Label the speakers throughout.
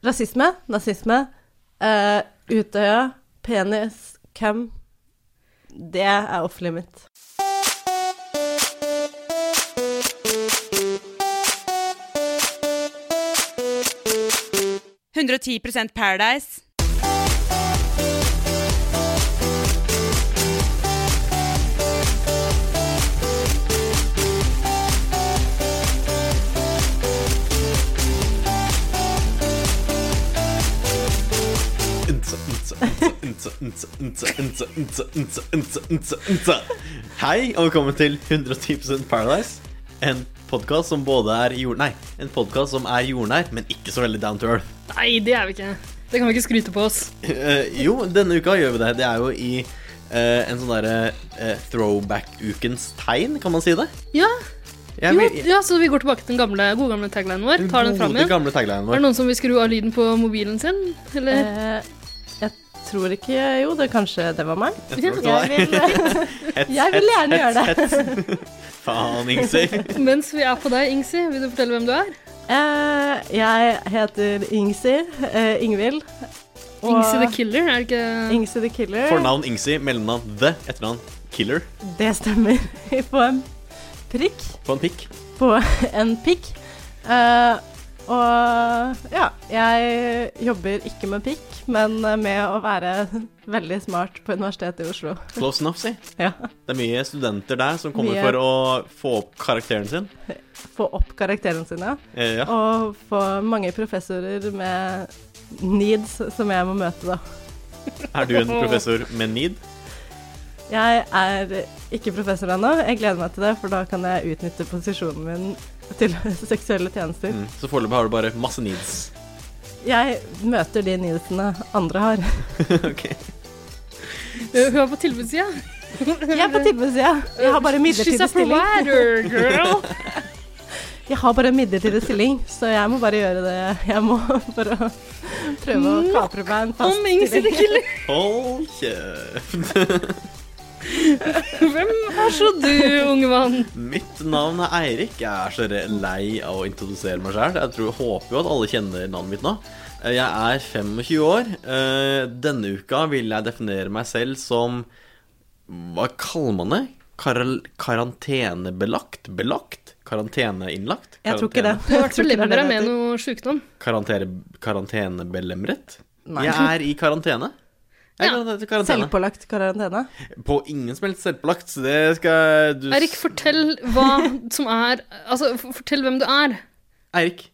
Speaker 1: Rasisme, nazisme, eh, Utøya, penis, hvem Det er off limit.
Speaker 2: Nei. 110 Paradise.
Speaker 3: Nse, nse, nse, nse, nse, nse, nse, nse, nse, nse, nse. Hei, og velkommen til 110 Paradise. En podkast som både er jord... Nei, en podkast som er jordnær, men ikke så veldig down to earth.
Speaker 4: Nei, det er vi ikke. Det kan vi ikke skryte på oss.
Speaker 3: Eh, jo, denne uka gjør vi det. Det er jo i eh, en sånn derre eh, throwback-ukens tegn, kan man si det?
Speaker 4: Ja,
Speaker 3: Jeg
Speaker 4: jo,
Speaker 3: vil-
Speaker 4: ja, så vi går tilbake til den gamle, gode gamle taglinen vår. Tar den fram
Speaker 3: Gode,
Speaker 4: igjen.
Speaker 3: gamle taglinen
Speaker 4: Er det
Speaker 3: vår.
Speaker 4: noen som vil skru av lyden på mobilen sin? Eller?
Speaker 1: Eh, jeg tror ikke Jo, det kanskje det var meg.
Speaker 3: Jeg tror ikke
Speaker 1: Jeg
Speaker 3: det
Speaker 1: vil, jeg vil gjerne gjøre det.
Speaker 3: var Faen, Ingsi.
Speaker 4: Mens vi er på deg, Ingsi, vil du fortelle hvem du er?
Speaker 1: Eh, jeg heter Ingsi. eh, Ingvild. og-
Speaker 4: Ingsi the Killer, er det ikke
Speaker 1: Ingsi the Killer.
Speaker 3: Fornavn Ingsi, mellomnavn The, etternavn Killer.
Speaker 1: Det stemmer. På en prikk.
Speaker 3: På en pikk.
Speaker 1: På en pikk. Eh, og ja, jeg jobber ikke med pikk, men med å være veldig smart på Universitetet i Oslo.
Speaker 3: Close enough, si.
Speaker 1: Ja.
Speaker 3: Det er mye studenter der som kommer
Speaker 1: Mye.
Speaker 3: for å få opp karakteren sin.
Speaker 1: Få opp karakterene sine.
Speaker 3: Eh, ja.
Speaker 1: Og få mange professorer med needs som jeg må møte, da.
Speaker 3: Er du en professor med need?
Speaker 1: Jeg er ikke professor ennå. Jeg gleder meg til det, for da kan jeg utnytte posisjonen min til seksuelle tjenester.
Speaker 3: Mm. Så foreløpig har du bare masse needs.
Speaker 1: Jeg møter de needsene andre har.
Speaker 3: ok.
Speaker 4: Hun er på tilbudssida.
Speaker 1: Jeg er på tilbudssida. Jeg har bare
Speaker 4: She's
Speaker 1: midlertidig
Speaker 4: a
Speaker 1: stilling.
Speaker 4: provider, girl.
Speaker 1: Jeg har bare midlertidig stilling, så jeg må bare gjøre det jeg må for å prøve å kapre meg en
Speaker 4: Om
Speaker 1: fast
Speaker 4: Ingsi the
Speaker 1: stilling.
Speaker 4: Killer.
Speaker 3: Hold kjeft.
Speaker 4: Hvem er så du, unge mann?
Speaker 3: Mitt navn er Eirik. Jeg er så re- lei av å introdusere meg sjøl. Jeg tror, håper jo at alle kjenner navnet mitt nå. Eh, Jeg er 25 år. Eh, Denne uka vil jeg definere meg selv som Hva kaller man det? Karal karantenebelagt? Belagt? Karanteneinnlagt?
Speaker 1: Jeg tror ikke det.
Speaker 3: Karantene-
Speaker 4: Du har vært
Speaker 1: Jeg tror ikke det er det
Speaker 4: belemra
Speaker 1: det
Speaker 4: med
Speaker 1: heter.
Speaker 4: noe sjukdom.
Speaker 3: karantere, karantenebelemret?
Speaker 1: Nei.
Speaker 3: Jeg er i karantene. Jeg er
Speaker 4: Ja.
Speaker 3: i karantene- karantene.
Speaker 1: Selvpålagt karantene.
Speaker 3: På ingen som helst selvpålagt. så Det skal du s-
Speaker 4: Eirik, fortell hva som er Altså, f- fortell hvem du er.
Speaker 3: Eirik.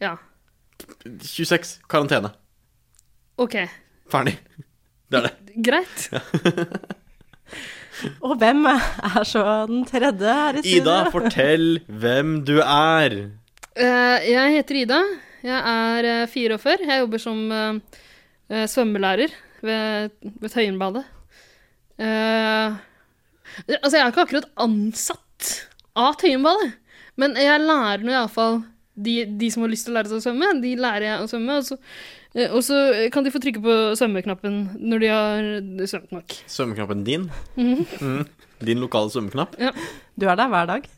Speaker 4: Ja,
Speaker 3: 26. Karantene.
Speaker 4: OK.
Speaker 3: Ferdig. Det er det.
Speaker 4: Greit.
Speaker 1: Og hvem er så den tredje her i studio?
Speaker 3: Ida, fortell hvem du er.
Speaker 4: Eh, jeg heter Ida. Jeg er eh, 44. Jeg jobber som eh, eh, svømmelærer ved, ved Tøyenbadet. Eh, altså, jeg er ikke akkurat ansatt av Tøyenbadet, men jeg lærer nå iallfall de, de som har lyst til å lære seg å svømme, de lærer jeg å svømme. Og så, eh, og så kan de få trykke på svømmeknappen når de har svømt nok.
Speaker 3: Svømmeknappen din. Mm. Din lokale svømmeknapp.
Speaker 1: Du er der hver dag.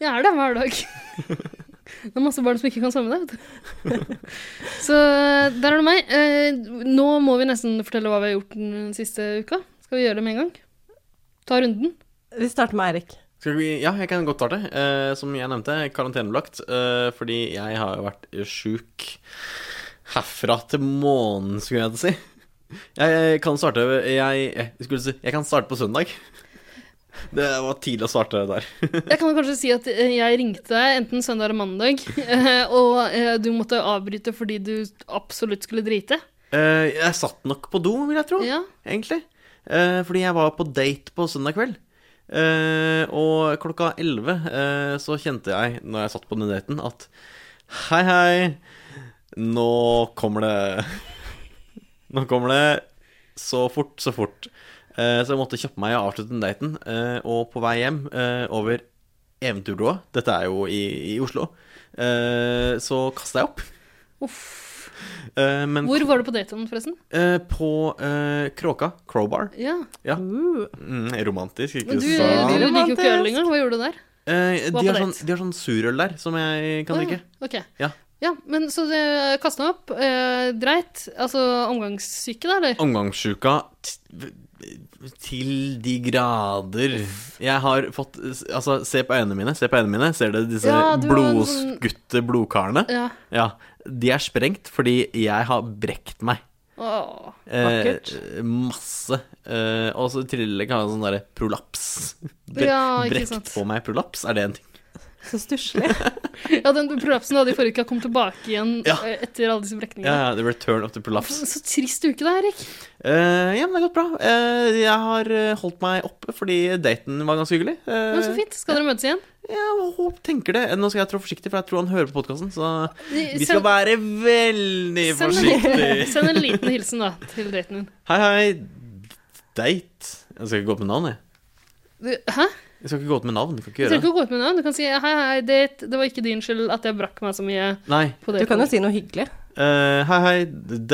Speaker 4: Jeg er der hver dag. Det er masse barn som ikke kan svømme der, vet du. Så der er det meg. Eh, Nå må vi nesten fortelle hva vi har gjort den siste uka. Skal vi gjøre det med en gang? Ta runden.
Speaker 1: Vi starter med Eirik.
Speaker 3: Skal vi, ja, jeg kan godt starte. Eh, som jeg nevnte, karantenebelagt. Eh, fordi jeg har jo vært sjuk herfra til månen, skulle jeg til å si. Jeg, jeg kan starte jeg, eh, jeg, skulle si, jeg kan starte på søndag. Det var tidlig å starte der.
Speaker 4: Jeg kan kanskje si at eh, jeg ringte deg enten søndag eller mandag, eh, og eh, du måtte avbryte fordi du absolutt skulle drite.
Speaker 3: Eh, jeg satt nok på do, vil jeg tro.
Speaker 4: Ja.
Speaker 3: Egentlig. Eh, fordi jeg var på date på søndag kveld. Eh, og klokka 11 eh, så kjente jeg, når jeg satt på den daten, at hei, hei, nå kommer det Nå kommer det så fort, så fort. Eh, så jeg måtte kjappe meg og avslutte den daten. Eh, og på vei hjem eh, over Eventyrbrua, dette er jo i, i Oslo, eh, så kasta jeg opp.
Speaker 4: Uff.
Speaker 3: Eh, men
Speaker 4: Hvor var du på daten, forresten?
Speaker 3: Eh, på eh, Kråka, Crowbar.
Speaker 4: Ja.
Speaker 1: Uh,
Speaker 3: Mm, romantisk, ikke
Speaker 4: Men du, du
Speaker 3: sant?
Speaker 4: liker jo ikke øl
Speaker 1: Romantisk.
Speaker 4: lenger. Hva gjorde du der?
Speaker 3: Eh,
Speaker 4: var
Speaker 3: de,
Speaker 4: på
Speaker 3: har
Speaker 4: date.
Speaker 3: sånn, de har sånn surøl der som jeg kan
Speaker 4: Å, ja.
Speaker 3: drikke.
Speaker 4: Ok.
Speaker 3: Ja.
Speaker 4: Ja, men så det kasta meg opp. Eh, dreit. Altså omgangssyke, da, eller?
Speaker 3: Omgangssjuka t- til de grader. Jeg har fått Altså, se på øynene mine. Se på øynene mine. Ser dere disse
Speaker 4: Ja, du har en sånn-
Speaker 3: blodskutte blodkarene?
Speaker 4: Ja.
Speaker 3: Ja. De er sprengt fordi jeg har brekt meg. eh,
Speaker 4: Åh.
Speaker 1: Vakkert.
Speaker 3: masse. Eh, og så i tillegg har jeg sånn derre prolaps. Bre
Speaker 4: Ja, ikke
Speaker 3: brekt
Speaker 4: sant.
Speaker 3: på meg prolaps, er det en ting?
Speaker 1: Så stusslig.
Speaker 4: Ja, den prolapsen du hadde i forrige uke, har kommet tilbake igjen
Speaker 3: Ja.
Speaker 4: eh, etter alle disse
Speaker 3: Ja,
Speaker 4: brekningene.
Speaker 3: ja, the return of the prolaps.
Speaker 4: Så trist uke det er, Erik.
Speaker 3: Eh, ja, men det har gått bra. Eh, jeg har eh, holdt meg oppe fordi daten var ganske hyggelig. Eh,
Speaker 4: Men så fint. Skal dere møtes igjen?
Speaker 3: Jeg håper- tenker det. Nå skal jeg trå forsiktig, for jeg tror han hører på podkasten. Så vi skal
Speaker 4: Send-
Speaker 3: være veldig
Speaker 4: send-
Speaker 3: forsiktige.
Speaker 4: Send en liten hilsen, da, til daten din.
Speaker 3: Hei, hei. Date. Jeg skal ikke gå opp med navn, jeg.
Speaker 4: Du, hæ?
Speaker 3: Jeg skal ikke gå opp med navn. Jeg kan ikke
Speaker 4: Du
Speaker 3: gjøre
Speaker 4: trenger
Speaker 3: det.
Speaker 4: ikke å gå ut med navn. Du kan si hei, hei, date. Det var ikke din skyld at jeg brakk meg så mye
Speaker 3: Nei.
Speaker 4: på
Speaker 1: Du
Speaker 4: daten.
Speaker 1: kan jo si noe hyggelig.
Speaker 3: Eh, hei, hei.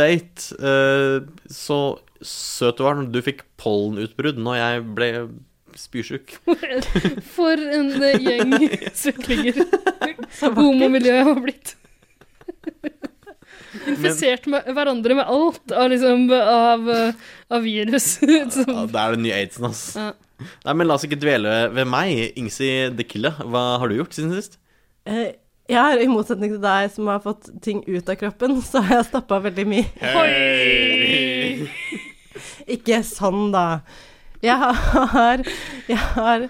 Speaker 3: Date. Eh, så søt du var når du fikk pollenutbrudd når jeg ble spysjuk.
Speaker 4: For en eh, gjeng søklinger.
Speaker 1: Så vakkert.
Speaker 4: Homomiljøet har blitt. Infisert med hverandre med alt av, liksom, av, eh, av virus. Som,
Speaker 3: Ja, det er den nye aidsen, ass.
Speaker 4: Ja.
Speaker 3: Nei, men la oss ikke dvele ved meg. Ingsi The Killa, hva har du gjort siden sist?
Speaker 1: Eh, Jeg har, i motsetning til deg som har fått ting ut av kroppen, så har jeg stappa veldig mye
Speaker 4: Oi!
Speaker 1: Ikke sånn, da. Jeg har, jeg har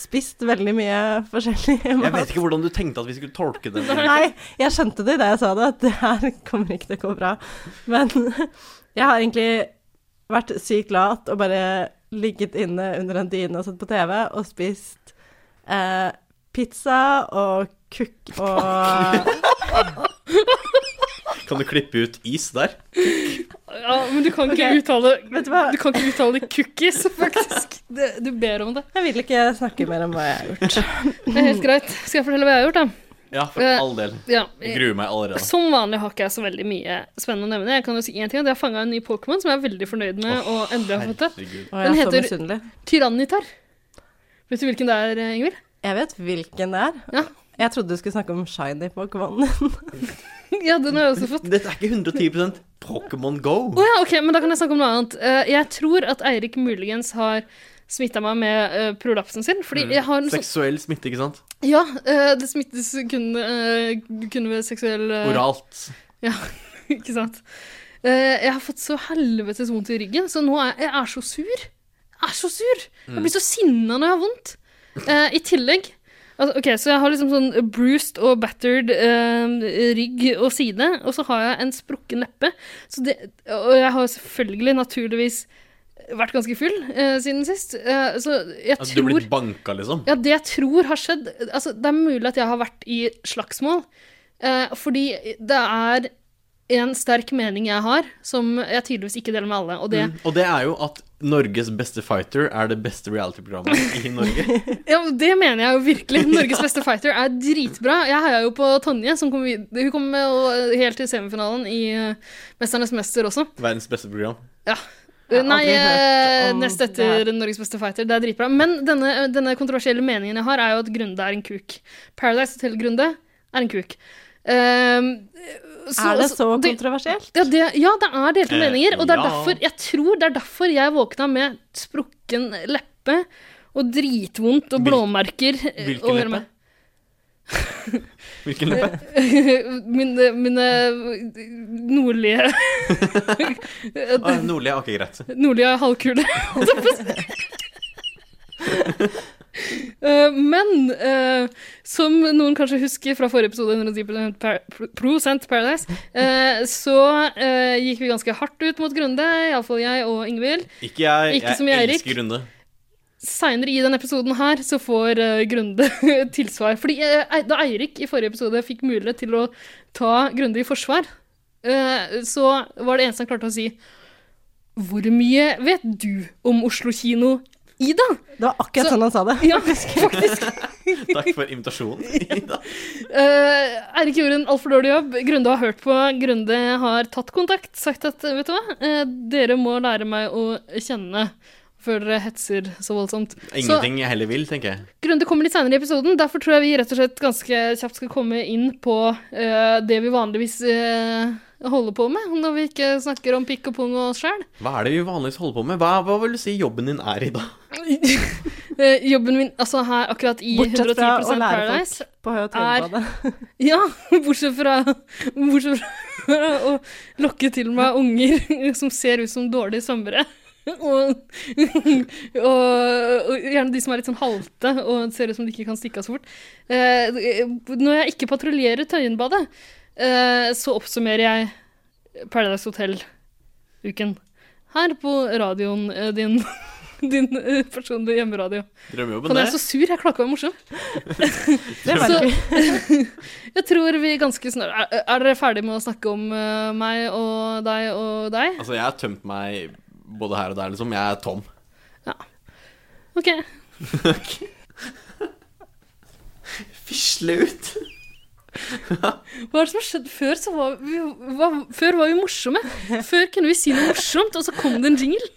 Speaker 1: spist veldig mye forskjellig
Speaker 3: Jeg vet
Speaker 1: mat.
Speaker 3: ikke hvordan du tenkte at vi skulle tolke det.
Speaker 1: Nei, jeg skjønte det da jeg sa det, at det her kommer ikke til å gå bra. Men jeg har egentlig vært sykt lat og bare ligget inne under en dyne og sett på TV og spist eh, pizza og kukk og
Speaker 3: Kan du klippe ut is der?
Speaker 4: Ja, men du kan ikke uttale
Speaker 1: Vet du hva?
Speaker 4: Du kan ikke uttale cookies, faktisk. Det, du ber om det.
Speaker 1: Jeg vil ikke snakke mer om hva jeg har gjort.
Speaker 4: Det er helt greit. Skal jeg fortelle hva jeg har gjort, da?
Speaker 3: Ja, for
Speaker 4: Eh,
Speaker 3: all del.
Speaker 4: Ja, eh,
Speaker 3: Jeg gruer meg allerede.
Speaker 4: Som vanlig har ikke jeg så veldig mye spennende å nevne. Jeg kan jo si en ting, at jeg har fanga en ny Pokémon som jeg er veldig fornøyd med. og endelig har fått det.
Speaker 3: Herregud.
Speaker 1: Og jeg er så
Speaker 4: heter-
Speaker 1: misunnelig.
Speaker 4: Tyrannitar. Vet du hvilken det er, eh, Ingvild?
Speaker 1: Jeg vet hvilken det er.
Speaker 4: Ja.
Speaker 1: Jeg trodde du skulle snakke om shiny Pokémon.
Speaker 4: Ja, den har jeg også fått.
Speaker 3: Dette er ikke 110 Pokémon Go.
Speaker 4: Å ja, ok, men da kan jeg snakke om noe annet. Eh, jeg tror at Eirik muligens har smitta meg med eh, prolapsen sin. Fordi
Speaker 3: Mm.
Speaker 4: jeg har en sånn
Speaker 3: Seksuell smitte, ikke sant?
Speaker 4: Ja, eh, det smittes kun, eh, kun ved seksuell eh,
Speaker 3: Oralt.
Speaker 4: Ikke sant. Eh, jeg har fått så helvetes vondt i ryggen, så nå er jeg, jeg er så sur. Jeg er så sur! Jeg blir så sinna når jeg har vondt. Eh, I tillegg altså, Ok, så jeg har liksom sånn bruised og battered eh, rygg og side, og så har jeg en sprukken leppe. Så det, og jeg har selvfølgelig, naturligvis, vært ganske full eh, siden sist. Eh, så jeg
Speaker 3: At Altså, du
Speaker 4: tror
Speaker 3: blir banka, liksom.
Speaker 4: ja, det jeg tror har skjedd altså, Det er mulig at jeg har vært i slagsmål. Eh, fordi det er en sterk mening jeg har, som jeg tydeligvis ikke deler med alle. Og det,
Speaker 3: Mm. Og det er jo at Norges beste fighter er det beste reality-programmet i Norge.
Speaker 4: ja, men det mener jeg jo virkelig. Norges beste fighter er dritbra. Jeg heia jo på Tonje, som kom, vid- hun kom med og, helt til semifinalen i eh, Mesternes mester også.
Speaker 3: Verdens beste program.
Speaker 1: Jeg har
Speaker 4: Nei,
Speaker 1: aldri hørt
Speaker 4: eh,
Speaker 1: om
Speaker 4: nest
Speaker 1: det
Speaker 4: etter Norges beste fighter. Det er dritbra. Men denne, denne kontroversielle meningen jeg har, er jo at Grunde er en kuk. Paradise Hotel Grunde er en kuk. Ehm,
Speaker 1: er det så
Speaker 4: det-
Speaker 1: kontroversielt?
Speaker 4: Ja, det, ja, det er delte
Speaker 3: Eh,
Speaker 4: meninger. Og det er
Speaker 3: ja.
Speaker 4: derfor, jeg tror det er derfor jeg våkna med sprukken leppe og dritvondt og
Speaker 3: Hvil-
Speaker 4: blåmerker. eh,
Speaker 3: Hvilken
Speaker 4: over
Speaker 3: leppe?
Speaker 4: meg.
Speaker 3: Hvilken leppe?
Speaker 4: mine, eh, mine nordlige
Speaker 3: Ah, Nordli. Ok, greit.
Speaker 4: Nordlige halvkule. holdt jeg på å si. Eh, Men eh, som noen kanskje husker fra forrige episode, 110 par- prosent Paradise, eh, så eh, gikk vi ganske hardt ut mot Grunde, iallfall jeg og Ingvild.
Speaker 3: Ikke jeg.
Speaker 4: Ikke som jeg, Erik.
Speaker 3: elsker Runde.
Speaker 4: Seinere i denne episoden her så får eh, Grunde tilsvar. Fordi eh, Ei- da Eirik i forrige episode fikk mulighet til å ta Grunde i forsvar, eh, så var det eneste han klarte å si Hvor mye vet du om Oslo kino, Ida?
Speaker 1: Det var akkurat
Speaker 4: Så-
Speaker 1: sånn han sa det.
Speaker 4: Ja, faktisk.
Speaker 3: Takk for invitasjonen. Ida.
Speaker 4: Eh, Eirik gjorde en altfor dårlig jobb. Grunde har hørt på. Grunde Eh, har tatt kontakt, sagt at vet du hva, eh, dere må lære meg å kjenne. før dere hetser så voldsomt.
Speaker 3: Ingenting jeg heller vil, tenker jeg.
Speaker 4: Grunde kommer litt senere i episoden, derfor tror jeg vi rett og slett ganske kjapt skal komme inn på eh, det vi vanligvis eh, holder på med, når vi ikke snakker om pikk og pung og oss sjæl.
Speaker 3: Hva er det vi vanligvis holder på med? Hva, hva vil du si jobben din er i, da?
Speaker 4: Eh, jobben min, altså her akkurat i
Speaker 1: Bortsett
Speaker 4: 110
Speaker 1: fra å lære
Speaker 4: Paradise
Speaker 1: folk på høy- og tøybadet.
Speaker 4: Ja, bortsett fra, bortsett fra å lokke til meg unger som ser ut som dårlige svømmere. Og, og, og gjerne de som er litt sånn halte og ser ut som de ikke kan stikke av så fort. Eh, når jeg ikke patruljerer Tøyenbadet, eh, så oppsummerer jeg Paradise Hotel-uken her på radioen eh, din. Din eh, personlige hjemmeradio.
Speaker 3: Drømmejobben
Speaker 4: Faen, jeg
Speaker 3: der?
Speaker 4: er så sur. Jeg klakka meg morsom.
Speaker 1: Det var
Speaker 4: Så-
Speaker 1: gøy.
Speaker 4: Jeg tror vi ganske snart Er, er dere ferdige med å snakke om eh, meg og deg og deg?
Speaker 3: Altså, jeg har tømt meg både her og der, liksom. Jeg er tom.
Speaker 4: OK.
Speaker 3: Fisle ut!
Speaker 4: Hva er det som har skjedd? Før, så var vi, var, før var vi morsomme. Før kunne vi si noe morsomt, og så kom det en jingle.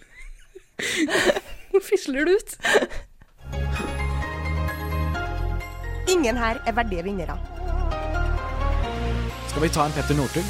Speaker 4: Nå fisler det ut.
Speaker 5: Ingen her er verdige vinnere.
Speaker 6: Skal vi ta en Petter Northug?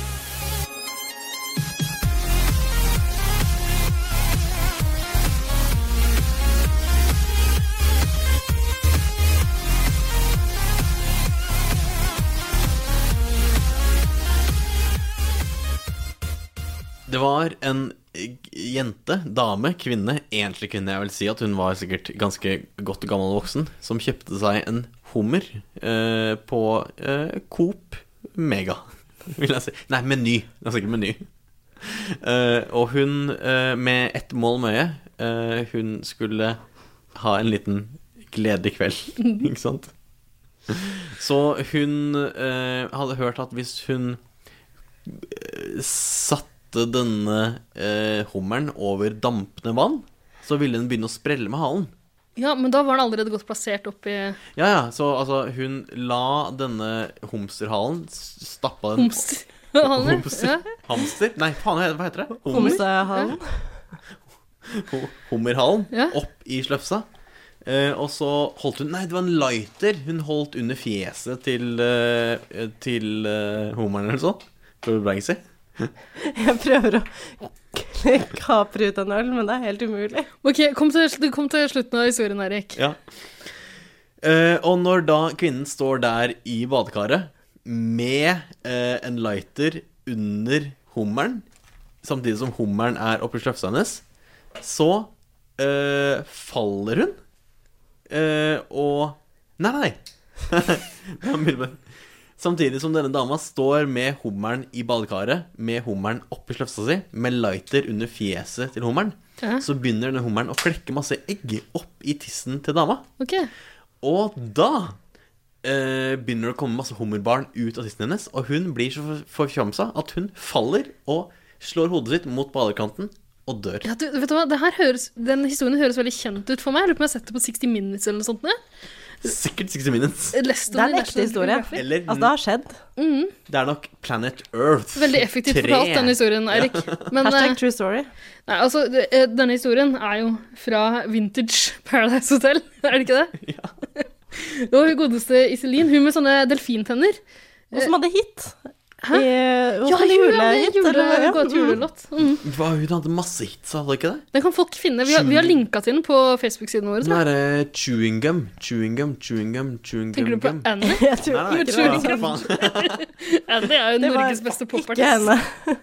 Speaker 3: Det var en eh, jente, dame, kvinne, enslig kvinne, jeg vil si at hun var sikkert ganske godt gammel voksen, som kjøpte seg en hummer eh, på eh, Coop Mega, vil jeg si. Nei, Meny. Det er sikkert Meny. Eh, og hun, eh, med ett mål med øye, eh, hun skulle ha en liten gledelig kveld, ikke sant? Så hun eh, hadde hørt at hvis hun satte denne eh, hummeren over dampende vann, så ville den begynne å sprelle med halen.
Speaker 4: Ja, men da var den allerede godt plassert oppi
Speaker 3: Ja, ja, så altså, hun la denne homsterhalen, s- stappa den
Speaker 4: homsehalene.
Speaker 3: Homser.
Speaker 4: Ja.
Speaker 3: Hamster? Nei, faen, hva heter det? Hummer?
Speaker 1: Homsehallen.
Speaker 3: Ho- Hummerhalen
Speaker 4: Ja.
Speaker 3: opp i sløfsa. Eh, og så holdt hun Nei, det var en lighter hun holdt under fjeset til, eh, til eh, hummeren eller noe sånt. Tror du det ble
Speaker 1: Jeg prøver å kapre ut en øl, men det er helt umulig.
Speaker 4: OK, kom til, sl- kom til slutten av historien, Erik.
Speaker 3: Ja. Eh, og når da kvinnen står der i badekaret med eh, en lighter under hummeren, samtidig som hummeren er oppi sløfsa hennes, så eh, faller hun. Eh, og Nei, nei! Det var mye bedre. Samtidig som denne dama står med hummeren i badekaret, med hummeren oppi sløfsa si, med lighter under fjeset til hummeren,
Speaker 4: Ja.
Speaker 3: så begynner denne hummeren å klekke masse egg opp i tissen til dama.
Speaker 4: OK.
Speaker 3: Og da eh, begynner det å komme masse hummerbarn ut av tissen hennes, og hun blir så for- forfjamsa at hun faller og slår hodet sitt mot badekanten og dør.
Speaker 4: Ja, du, vet du hva? Det her høres, den historien høres veldig kjent ut for meg. Jeg lurer på om jeg har sett det på 60 Minutes eller noe sånt. ja.
Speaker 3: Sikkert 60 Minutes.
Speaker 4: Lest
Speaker 1: Det
Speaker 4: om
Speaker 1: er en
Speaker 4: i
Speaker 1: ekte
Speaker 4: National
Speaker 1: historie.
Speaker 4: Geographic.
Speaker 3: Eller
Speaker 1: Altså, det har skjedd.
Speaker 3: det er nok Planet Earth.
Speaker 4: Veldig effektivt
Speaker 3: tre.
Speaker 4: fortalt, denne historien, Eirik. Men eh,
Speaker 1: Hashtag true story.
Speaker 4: nei, altså, det- eh, denne historien er jo fra vintage Paradise Hotel, er det ikke det? Ja. Og hun godeste Iselin, hun med sånne delfintenner.
Speaker 1: Og som hadde hit.
Speaker 4: Hæ?
Speaker 1: I- hos en
Speaker 4: hun hadde
Speaker 1: julehit,
Speaker 4: jule-
Speaker 1: sånn eller hva?
Speaker 4: gå til julelåt. Mm.
Speaker 3: Hva, hun hadde masse hits, hadde hun ikke det?
Speaker 4: Den kan folk finne. Vi har, vi har linka til den på Facebook-siden vår.
Speaker 3: Den
Speaker 4: Tror jeg.
Speaker 3: derre chewing gum, chewing gum, chewing gum, chewing gum.
Speaker 4: Tenker du på
Speaker 3: gum.
Speaker 4: Annie?
Speaker 1: Jeg tror
Speaker 3: Nei, nei,
Speaker 1: ikke
Speaker 3: ikke
Speaker 1: det. sånn.
Speaker 4: chewing
Speaker 3: det, altså, faen.
Speaker 4: Annie er jo
Speaker 1: Det var
Speaker 4: Norges beste
Speaker 1: Ikke
Speaker 4: popartist.
Speaker 1: henne.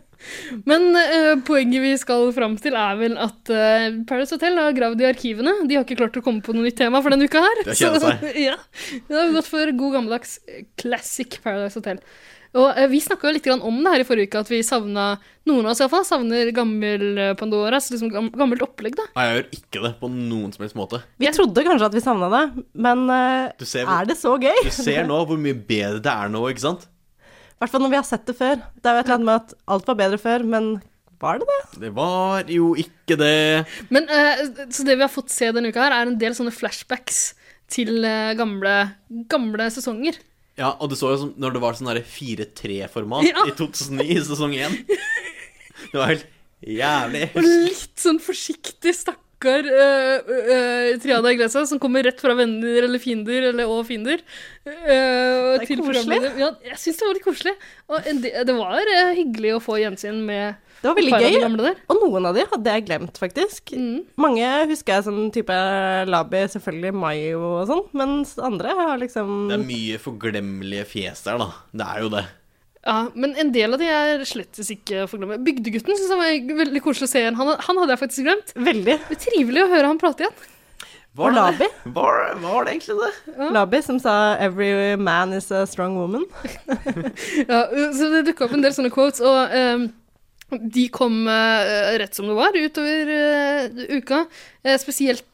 Speaker 4: Men eh, poenget vi skal fram til, er vel at eh, Paradise Hotel har gravd i arkivene. De har ikke klart å komme på noe nytt tema for denne uka her.
Speaker 3: Det kjeder seg.
Speaker 4: ja. Da har vi gått for god gammeldags eh, classic Paradise Hotel. Og eh, vi snakka jo litt grann om det her i forrige uke, at vi savna Noen av oss iallfall savner gammel eh, Pandoras, liksom gam- gammelt opplegg, da.
Speaker 3: Nei, jeg gjør ikke det på noen som helst måte.
Speaker 1: Vi trodde kanskje at vi savna det, men eh,
Speaker 3: Du ser-
Speaker 1: er det så gøy?
Speaker 3: Du ser nå hvor mye bedre det er nå, ikke sant?
Speaker 1: I hvert fall når vi har sett det før. Det er jo et eller annet med at alt var bedre før, men var det det?
Speaker 3: Det var jo ikke det.
Speaker 4: Men eh, Så det vi har fått se denne uka her, er en del sånne flashbacks til eh, gamle, gamle sesonger.
Speaker 3: Ja, og du så jo som, når det var sånn derre 4-3-format
Speaker 4: Ja.
Speaker 3: i 2009, i sesong 1. Det var helt jævlig.
Speaker 4: Og litt sånn forsiktig stakk stakkar eh, eh, Triana Iglesias, som kommer rett fra venner eller fiender, eller og fiender. eh,
Speaker 1: Det er koselig.
Speaker 4: til programleder. Ja, jeg syns det var litt koselig. Og en de- det var eh, hyggelig å få gjensyn med
Speaker 1: Det var veldig
Speaker 4: par av de
Speaker 1: gøy.
Speaker 4: gamle der.
Speaker 1: Og noen av de hadde jeg glemt, faktisk.
Speaker 4: Mm.
Speaker 1: Mange husker jeg som type Labi, selvfølgelig Mayo og sånn, mens andre har liksom
Speaker 3: Det er mye forglemmelige fjes der, da. Det er jo det.
Speaker 4: Ja, men en del av de er slett ikke for å glemme. Bygdegutten syns jeg var veldig koselig å se igjen. Han, han hadde jeg faktisk glemt.
Speaker 1: Veldig.
Speaker 4: Det er Trivelig å høre han prate igjen.
Speaker 1: Og Labi.
Speaker 3: Var, var det egentlig det?
Speaker 1: Labi som sa 'Every man is a strong woman'.
Speaker 4: Ja, øh, så det dukka opp en del sånne quotes, og ehm, de kom eh, rett som det var utover eh, uka. eh, spesielt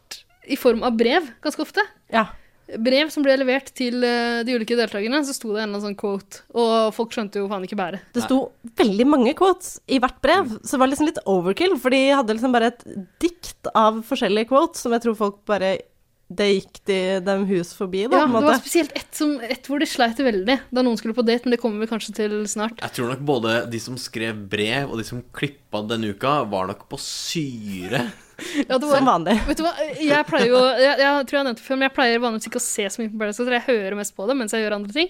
Speaker 4: i form av brev, ganske ofte.
Speaker 1: Ja.
Speaker 4: Brev som ble levert til eh, de ulike deltakerne, så sto det en eller annen sånn quote, og folk skjønte jo faen ikke bæret.
Speaker 1: Det sto veldig mange quotes i hvert brev, så det var liksom litt overkill, for de hadde liksom bare et dikt av forskjellige quotes som jeg tror folk bare Det gikk de dem hus forbi, da,
Speaker 4: Ja,
Speaker 1: på en
Speaker 4: det var
Speaker 1: måte.
Speaker 4: spesielt ett som- ett hvor de sleit veldig da noen skulle på date, men det kommer vi kanskje til snart.
Speaker 3: Jeg tror nok både de som skrev brev, og de som klippa denne uka, var nok på syre.
Speaker 4: Ja, det var,
Speaker 1: Som vanlig.
Speaker 4: Vet du hva, jeg pleier jo Jeg, jeg tror jeg har nevnt det før, men jeg pleier vanligvis ikke å se så mye på Paradise Hotel. Jeg hører mest på det mens jeg gjør andre ting.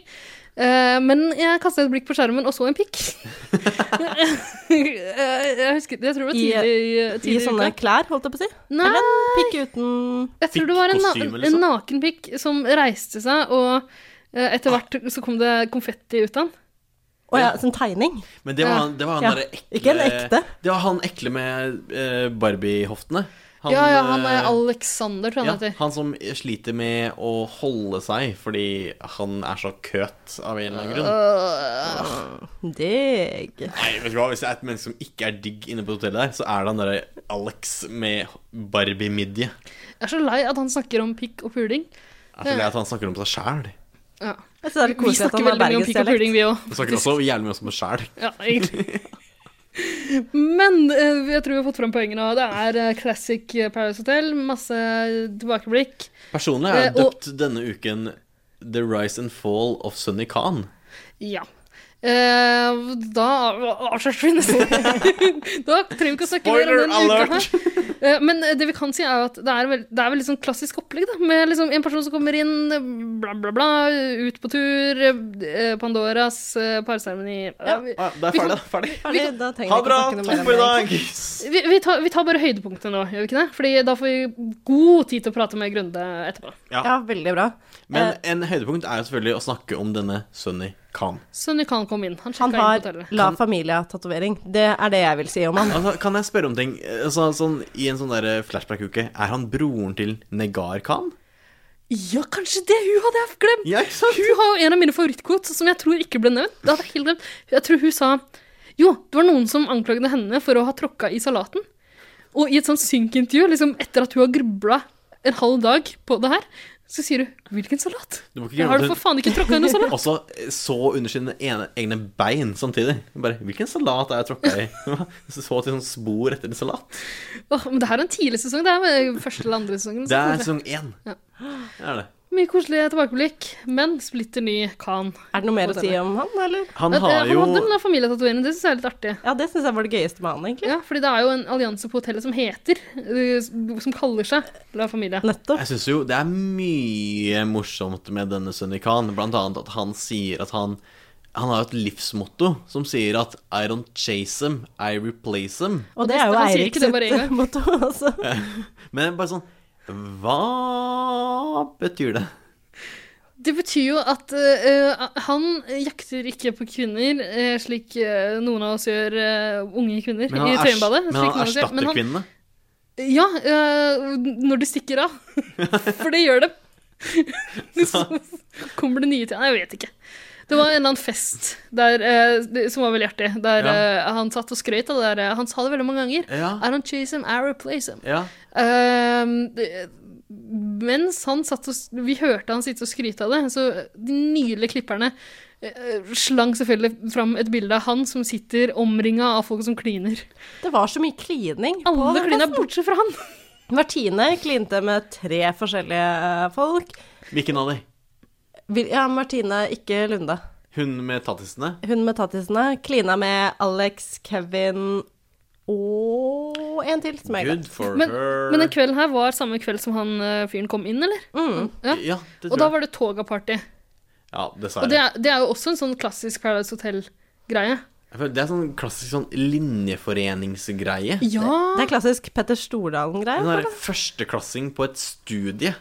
Speaker 4: Eh, men jeg kasta et blikk på skjermen og så en pikk. Eh, jeg husker Jeg tror det
Speaker 1: I-
Speaker 4: var tidlig i eh,
Speaker 1: I
Speaker 4: tidlig
Speaker 1: sånne
Speaker 4: uka.
Speaker 1: klær, holdt jeg på å si.
Speaker 4: Nei,
Speaker 1: Eller en pikk uten
Speaker 4: jeg tror det var en, na
Speaker 3: Pikk-kostyme, liksom.
Speaker 4: en naken pikk som reiste seg, og eh, etter
Speaker 3: Ah.
Speaker 4: hvert så kom det konfetti ut av den.
Speaker 1: Å ja, sånn tegning.
Speaker 3: Men det var
Speaker 4: Ja.
Speaker 3: han, det var han
Speaker 1: Ja.
Speaker 3: derre ekle
Speaker 1: Ikke en ekte.
Speaker 3: Det var han ekle med eh, Barbie-hoftene. Han,
Speaker 4: Ja, ja, han
Speaker 3: eh,
Speaker 4: er Alexander, tror jeg
Speaker 3: ja,
Speaker 4: han heter.
Speaker 3: han som sliter med å holde seg fordi han er så køt av en eller annen grunn.
Speaker 1: Digg.
Speaker 3: Nei, vet du hva, Hvis det er et menneske som ikke er digg inne på hotellet der, så er det han derre Alex med Barbie-midje.
Speaker 4: Jeg er så lei at han snakker om pikk og puling.
Speaker 3: Jeg er så lei at han snakker om seg sjæl.
Speaker 4: Ja.
Speaker 1: Jeg synes det er litt
Speaker 4: Vi
Speaker 1: koselig at
Speaker 4: snakker
Speaker 1: han har
Speaker 4: veldig mye om pikk og
Speaker 1: bergensdialekt.
Speaker 4: puling, vi òg.
Speaker 3: Han snakker også jævlig mye om seg sjæl.
Speaker 4: Ja, egentlig. Men eh, jeg tror vi har fått fram poengene. og Det er eh, classic Paradise Hotel. Masse tilbakeblikk.
Speaker 3: Personlig har jeg
Speaker 4: Eh, og-
Speaker 3: døpt denne uken The Rise and Fall of Sunny Khan.
Speaker 4: Ja. Eh, da avslører vi nesten Da trenger vi ikke å snakke mer om den
Speaker 3: Spoiler
Speaker 4: uka her. Eh, Men det vi kan si, er jo at det er, veld, det er veldig sånn klassisk opplegg. da Med liksom en person som kommer inn, bla, bla, bla, ut på tur, eh, Pandoras eh, parseremoni Eh,
Speaker 1: Ja.
Speaker 4: Vi-
Speaker 3: Ah, det er
Speaker 4: vi kan-
Speaker 3: ferdig. Ferdig.
Speaker 1: Ferdig, da trenger vi
Speaker 3: Ha det bra.
Speaker 1: ikke å snakke noe mer
Speaker 3: Takk
Speaker 1: om
Speaker 3: for i
Speaker 1: det.
Speaker 3: dag.
Speaker 4: Vi, vi, tar, vi tar bare høydepunktene nå, gjør vi ikke det? Fordi da får vi god tid til å prate med Grunde etterpå.
Speaker 1: Ja, veldig bra.
Speaker 3: Men
Speaker 1: Eh,
Speaker 3: en høydepunkt er jo selvfølgelig å snakke om denne Sunny Khan.
Speaker 4: Sunny kan komme inn.
Speaker 1: Han
Speaker 4: Han sjekka inn på
Speaker 1: har
Speaker 4: hotellet.
Speaker 1: La Familia-tatovering. Det er det jeg vil si om han.
Speaker 3: Altså, kan jeg spørre om ting? Altså, sånn, I en sånn der flashback-uke, er han broren til Negar Khan?
Speaker 4: Ja, kanskje det! Hun hadde jeg glemt!
Speaker 3: Ja, ikke sant?
Speaker 4: Hun har jo en av mine favorittkvoter som jeg tror ikke ble nevnt. Det hadde jeg helt glemt. Jeg tror hun sa Jo, det var noen som anklaget henne for å ha tråkka i salaten. Og i et sånt synkintervju, liksom etter at hun har grubla en halv dag på det her, så sier hun 'Hvilken salat?'
Speaker 3: Du må ikke
Speaker 4: Jeg har
Speaker 3: glemme
Speaker 4: du for
Speaker 3: at
Speaker 4: faen ikke tråkka i noe
Speaker 3: hun
Speaker 4: salat?
Speaker 3: også så under sine ene, egne bein samtidig. Bare, Hvilken salat er jeg tråkka i? Så til sånn spor etter en salat.
Speaker 4: Åh, men det her er en tidlig sesong. Det er eh, første eller andre sesongen.
Speaker 3: Det
Speaker 4: så
Speaker 3: er
Speaker 4: kanskje.
Speaker 3: sesong én.
Speaker 4: Ja.
Speaker 3: Det er det.
Speaker 4: Mye koselige tilbakeblikk, men splitter ny kan.
Speaker 1: Er det noe mer å si om han, eller?
Speaker 3: Han
Speaker 4: Han,
Speaker 3: har jo
Speaker 4: han hadde den der familietatoveringen, det syns jeg er litt artig.
Speaker 1: Ja, det syns jeg var det gøyeste med han, egentlig.
Speaker 4: Ja, fordi det er jo en allianse på hotellet som heter eh, Som kaller seg La Familia.
Speaker 1: Nettopp.
Speaker 3: Jeg syns jo det er mye morsomt med denne Sunny Khan. Blant annet at han sier at han Han har jo et livsmotto som sier at I don't chase them, I replace them.
Speaker 1: Og det er jo
Speaker 4: Han sier
Speaker 1: Eirik
Speaker 4: ikke det bare en
Speaker 1: sitt
Speaker 4: gang.
Speaker 1: motto også.
Speaker 3: Men bare sånn Hva betyr det?
Speaker 4: Det betyr jo at eh, eh, han jakter ikke på kvinner, eh, slik eh, noen av oss gjør eh, unge kvinner
Speaker 3: Men han,
Speaker 4: i
Speaker 3: ers-
Speaker 4: Tøyenbadet.
Speaker 3: men han
Speaker 4: slik noen av oss gjør.
Speaker 3: erstatter kvinnene.
Speaker 4: Ja, eh, når de stikker av. For det gjør de. Så kommer det nye til Nei, jeg vet ikke. Det var en eller annen fest der, eh, det- som var veldig artig, der
Speaker 3: Ja.
Speaker 4: eh, han satt og skrøt av det der. eh, Han sa det veldig mange ganger.
Speaker 3: Ja.
Speaker 4: I don't chase him, I replace him.
Speaker 3: Ja.
Speaker 4: Eh, det- mens han satt og s- Vi hørte han sitte og skryte av det, så de nydelige klipperne eh, slang selvfølgelig fram et bilde av han som sitter omringa av folk som kliner.
Speaker 1: Det var så mye klining. på
Speaker 4: Alle
Speaker 1: den
Speaker 4: klina
Speaker 1: festen.
Speaker 4: bortsett fra han.
Speaker 1: Martine klinte med tre forskjellige eh, folk.
Speaker 3: Hvilken av de?
Speaker 1: Vil- Ja, Martine, ikke Lunde.
Speaker 3: Hun med tattisene?
Speaker 1: Hun med tattisene klina med Alex, Kevin og og en til som jeg har
Speaker 3: Good for
Speaker 4: Men,
Speaker 3: her.
Speaker 4: men den kvelden her var samme kveld som han eh, fyren kom inn, eller?
Speaker 1: Mm.
Speaker 4: Ja.
Speaker 3: Ja, det
Speaker 4: Og da
Speaker 3: tror jeg.
Speaker 4: var det toga-party.
Speaker 3: Ja, dessverre.
Speaker 4: Og det er, det er jo også en sånn klassisk Paradise Hotel-greie.
Speaker 3: Jeg føler Det er sånn klassisk sånn linjeforeningsgreie.
Speaker 4: Ja!
Speaker 1: Det er klassisk Petter Stordalen-greie.
Speaker 3: En
Speaker 1: føler
Speaker 3: der
Speaker 1: jeg.
Speaker 3: førsteklassing på et studie.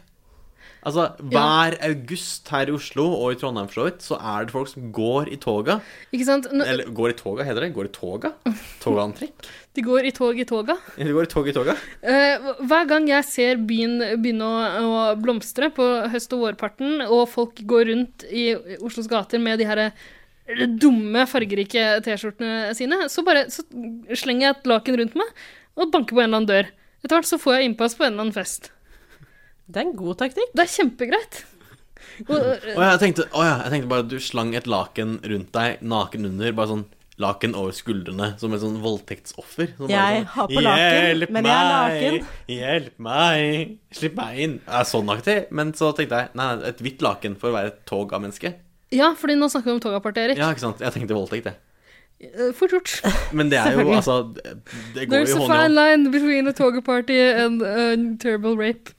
Speaker 3: Altså, hver august her i Oslo og i Trondheim for så vidt, så er det folk som går i toga.
Speaker 4: Ikke sant? Nå,
Speaker 3: Eller går i toga, heter det. Går i toga? Togantrekk?
Speaker 4: de går i tog i toga.
Speaker 3: Eller går i tog i toga?
Speaker 4: Eh, hver gang jeg ser byen begynne å, å blomstre på høst- og vårparten, og folk går rundt i Oslos gater med de her eh, dumme, fargerike T-skjortene sine, så bare så slenger jeg et laken rundt meg og banker på en eller annen dør. Etter hvert så får jeg innpass på en eller annen fest.
Speaker 1: Det er en god taktikk.
Speaker 4: Det er kjempegreit. Og, eh,
Speaker 3: Å ja, jeg tenkte, å ja, jeg tenkte bare at du slang et laken rundt deg, naken under. Bare sånn laken over skuldrene, som et sånn voldtektsoffer. som bare
Speaker 1: Jeg
Speaker 3: sånn,
Speaker 1: har på laken,
Speaker 3: «Hjelp
Speaker 1: men jeg er
Speaker 3: meg! Hjelp meg! Slipp meg inn! Jeg er sånn aktig. Men så tenkte jeg nei, nei, et hvitt laken for å være et tog av menneske.
Speaker 4: ja, fordi nå snakker vi om togapartiet, Erik.
Speaker 3: Ja, ikke sant. Jeg tenkte voldtekt, jeg.
Speaker 4: Eh, Fort gjort.
Speaker 3: Men det er jo altså Det går
Speaker 4: There's
Speaker 3: jo
Speaker 4: a
Speaker 3: hånd i
Speaker 4: fine
Speaker 3: hånd.
Speaker 4: line between a toga party and a terrible rape.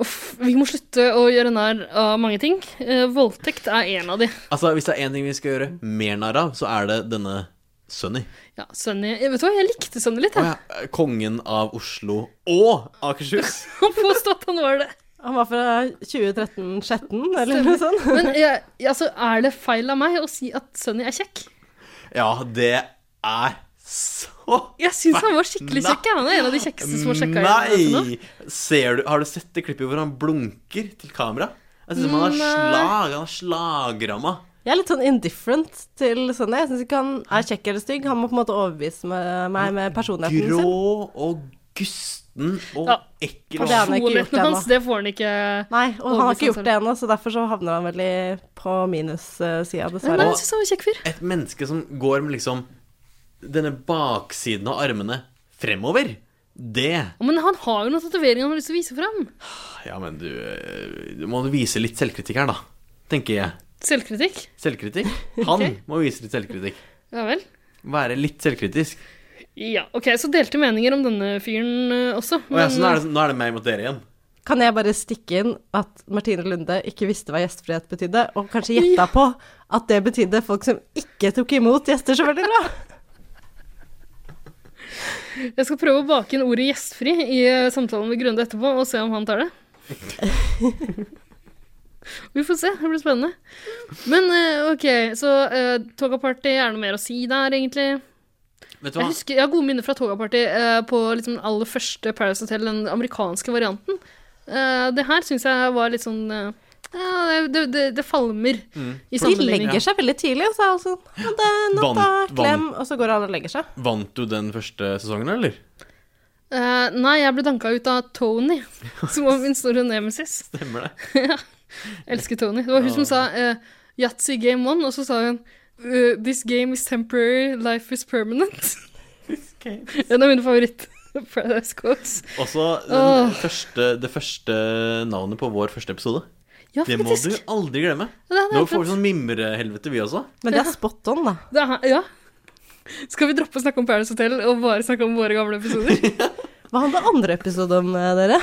Speaker 4: Uff, vi må slutte å gjøre nær av mange ting. Eh, voldtekt er en av de.
Speaker 3: Altså, hvis det er én ting vi skal gjøre mer narr av, så er det denne Sunny.
Speaker 4: Ja, Sunny jeg, Vet du hva, jeg likte Sunny litt,
Speaker 3: Å
Speaker 4: jeg.
Speaker 3: ja. Kongen av Oslo og Akershus.
Speaker 4: Han påstod at han var det.
Speaker 1: Han var fra 2013-16, eller noe sånt.
Speaker 4: Men jeg, altså, er det feil av meg å si at Sunny er kjekk?
Speaker 3: Ja, det er så
Speaker 4: Jeg syns han var skikkelig kjekk. jeg. Han er en av de kjekkeste som har sjekka
Speaker 3: Nei! Ser du, har du sett det klippet hvor han blunker til kamera? Jeg synes han har
Speaker 4: Nei.
Speaker 3: slag, han har slagramma.
Speaker 1: Jeg er litt sånn indifferent til sånn. Jeg syns ikke han er kjekk eller stygg. Han må på en måte overbevise meg meg med personligheten sin.
Speaker 3: Grå og gusten og
Speaker 4: Ja.
Speaker 3: ekkel.
Speaker 1: Og det har han ikke gjort
Speaker 4: Personligheten hans,
Speaker 1: ennå.
Speaker 4: det får han ikke
Speaker 1: Nei, og han har ikke
Speaker 4: Overbevise
Speaker 1: gjort det ennå, så derfor så havner han veldig på minussida,
Speaker 4: Nei,
Speaker 1: dessverre.
Speaker 4: jeg syns han var en kjekk fyr.
Speaker 3: Et menneske som går med liksom denne baksiden av armene fremover. Det
Speaker 4: Men han har jo noen tatoveringer han har lyst til å vise fram.
Speaker 3: Ja, men du, eh, du må vise litt selvkritikk her, da. Tenker jeg.
Speaker 4: Selvkritikk.
Speaker 3: Selvkritikk. Han
Speaker 4: Ok.
Speaker 3: må vise litt selvkritikk.
Speaker 4: Ja vel.
Speaker 3: Være litt selvkritisk.
Speaker 4: Ja, ok, så delte meninger om denne fyren eh, også.
Speaker 3: Å ja,
Speaker 4: men-
Speaker 3: så nå er, det, nå er det meg mot dere igjen.
Speaker 1: Kan jeg bare stikke inn at Martine Lunde ikke visste hva gjestfrihet betydde, og kanskje gjetta på at det betydde folk som ikke tok imot gjester så veldig bra?
Speaker 4: eh, Jeg skal prøve å bake inn ordet gjestfri i eh, samtalen med Grunde etterpå, og se om han tar det. Vi får se, det blir spennende. Men eh, ok, så uh, Togaparty, er det noe mer å si der, egentlig?
Speaker 3: Vet du
Speaker 4: Jeg
Speaker 3: hva?
Speaker 4: husker, jeg har gode minner fra Togaparty eh, på liksom den aller første Paradise Hotel, den amerikanske varianten. Eh, det her syns jeg var litt sånn eh, ja, det, det, det falmer
Speaker 3: Mm.
Speaker 4: i
Speaker 1: De
Speaker 4: sammenligning.
Speaker 1: legger seg veldig tidlig, og så er det sånn «Ha det, natta,
Speaker 3: Vant-
Speaker 1: klem, og så går alle og legger seg.
Speaker 3: Vant du den første sesongen, eller?
Speaker 4: Eh, nei, jeg ble danka ut av Tony, som var min store nemesis.
Speaker 3: Stemmer det.
Speaker 4: Elsker Tony. Det var hun som sa eh, Yatzy game one, og så sa hun eh, This game is temporary, life is permanent. en av mine favoritt Paradise Quotes.
Speaker 3: Også den
Speaker 4: Åh.
Speaker 3: første, det første navnet på vår første episode.
Speaker 4: Ja,
Speaker 3: Det må du
Speaker 4: faktisk.
Speaker 3: aldri glemme.
Speaker 4: Ja, det er
Speaker 3: Nå
Speaker 4: helt
Speaker 3: får vi sånn mimrehelvete, vi også.
Speaker 1: Men det er spot on, da.
Speaker 4: Det er, ja. Skal vi droppe å snakke om Paradise Hotel og bare snakke om våre gamle episoder?
Speaker 1: Hva handler andre episode om, eh, dere?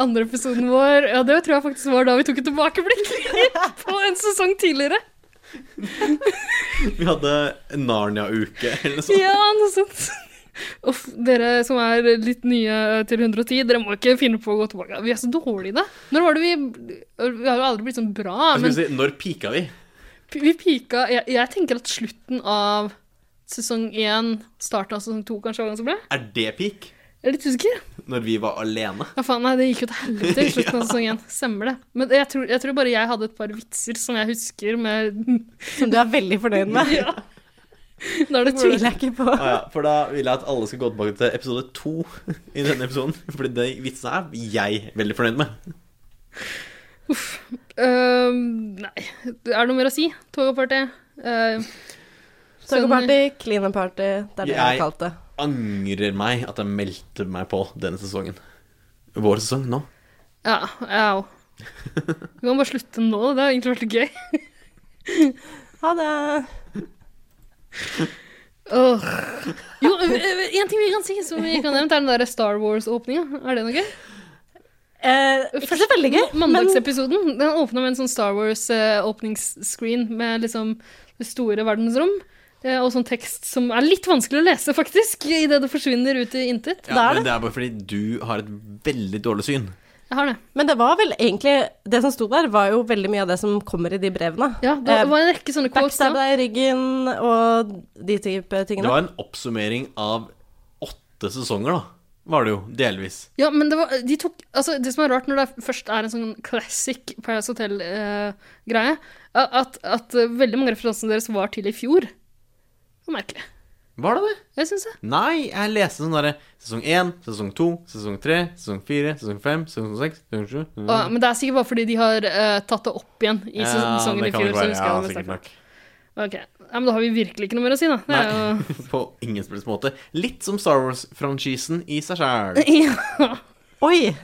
Speaker 4: Andre episoden vår Ja, det tror jeg faktisk var da vi tok et tilbakeblikk på en sesong tidligere.
Speaker 3: Vi hadde Narnia-uke eller noe sånt.
Speaker 4: Ja, noe sånt. Uff, dere som er litt nye til 110, dere må ikke finne på å gå tilbake. Vi er så dårlige i det. Når var det vi Vi har jo aldri blitt sånn bra,
Speaker 3: Jeg
Speaker 4: men
Speaker 3: skulle si, når pika vi?
Speaker 4: p- vi pika jeg, jeg tenker at slutten av sesong én, starten av sesong to kanskje var ganske bra.
Speaker 3: Er det peak?
Speaker 4: Jeg er litt usikker.
Speaker 3: Når vi var alene?
Speaker 4: Ja, faen, nei, det gikk jo til helvete i slutten av sesong én. Stemmer det. Men jeg tror, jeg tror bare jeg hadde et par vitser som jeg husker med
Speaker 1: Som du er veldig fornøyd med?
Speaker 4: Ja. Da er
Speaker 1: Det
Speaker 4: det
Speaker 1: tviler jeg ikke på.
Speaker 3: Ah, ja, for da vil jeg at alle skal gå tilbake til episode to i denne episoden. Fordi de vitsene er jeg veldig fornøyd med.
Speaker 4: Øhm, nei. Er det noe mer å si? Togaparty? Uh,
Speaker 1: Søkeparty, clean-party, det er det jeg har
Speaker 3: Jeg-
Speaker 1: kalt det.
Speaker 3: Angrer meg at jeg meldte meg på denne sesongen. Vår sesong nå.
Speaker 4: Ja, au. Vi kan bare slutte nå, det har egentlig vært litt gøy.
Speaker 1: Ha det.
Speaker 4: Åh. Jo, øh, øh, én ting vi kan si som vi ikke har nevnt, er den der Star Wars-åpninga. Er det noe gøy?
Speaker 1: Eh, ikke så veldig gøy, men
Speaker 4: Mandagsepisoden den åpna med en sånn Star Wars-åpningsscreen med liksom det store verdensrom. eh, Og sånn tekst som er litt vanskelig å lese, faktisk, idet det forsvinner ut i intet.
Speaker 1: Da er
Speaker 3: men
Speaker 1: det.
Speaker 3: det er bare fordi du har et veldig dårlig syn.
Speaker 4: Jeg har det.
Speaker 1: Men det var vel egentlig Det som sto der, var jo veldig mye av det som kommer i de brevene.
Speaker 4: Ja, det
Speaker 1: Eh,
Speaker 4: var en rekke sånne quotes.
Speaker 1: Backstab
Speaker 4: da.
Speaker 1: deg i ryggen og de type
Speaker 3: Det
Speaker 1: tingene.
Speaker 3: var en oppsummering av åtte sesonger, da. Var det jo. Delvis.
Speaker 4: Ja, men det, var, de tok, altså, det som er rart når det først er en sånn classic Paradise Hotel-greie, at, at eh, veldig mange referansene deres var til i fjor. Det var merkelig.
Speaker 3: Var det det?
Speaker 4: Jeg syns det.
Speaker 3: Nei, jeg leste sånn derre sesong én, sesong to, sesong tre, sesong fire, sesong fem, sesong seks, sesong sju
Speaker 4: Og, men det er sikkert bare fordi de har eh, tatt det opp igjen i ses-
Speaker 3: Mm. Ja,
Speaker 4: sesongen
Speaker 3: det
Speaker 4: i
Speaker 3: kan
Speaker 4: fjor.
Speaker 3: det
Speaker 4: så
Speaker 3: være.
Speaker 4: husker jeg
Speaker 3: Ja,
Speaker 4: det med
Speaker 3: sikkert
Speaker 4: sterk-
Speaker 3: nok.
Speaker 4: Ok, ja, men Da har vi virkelig ikke noe mer å si, da. Det er jo...
Speaker 3: Nei, på ingen som helst måte. Litt som Star Wars-franchisen i seg sjæl.
Speaker 4: Ja.
Speaker 1: Oi!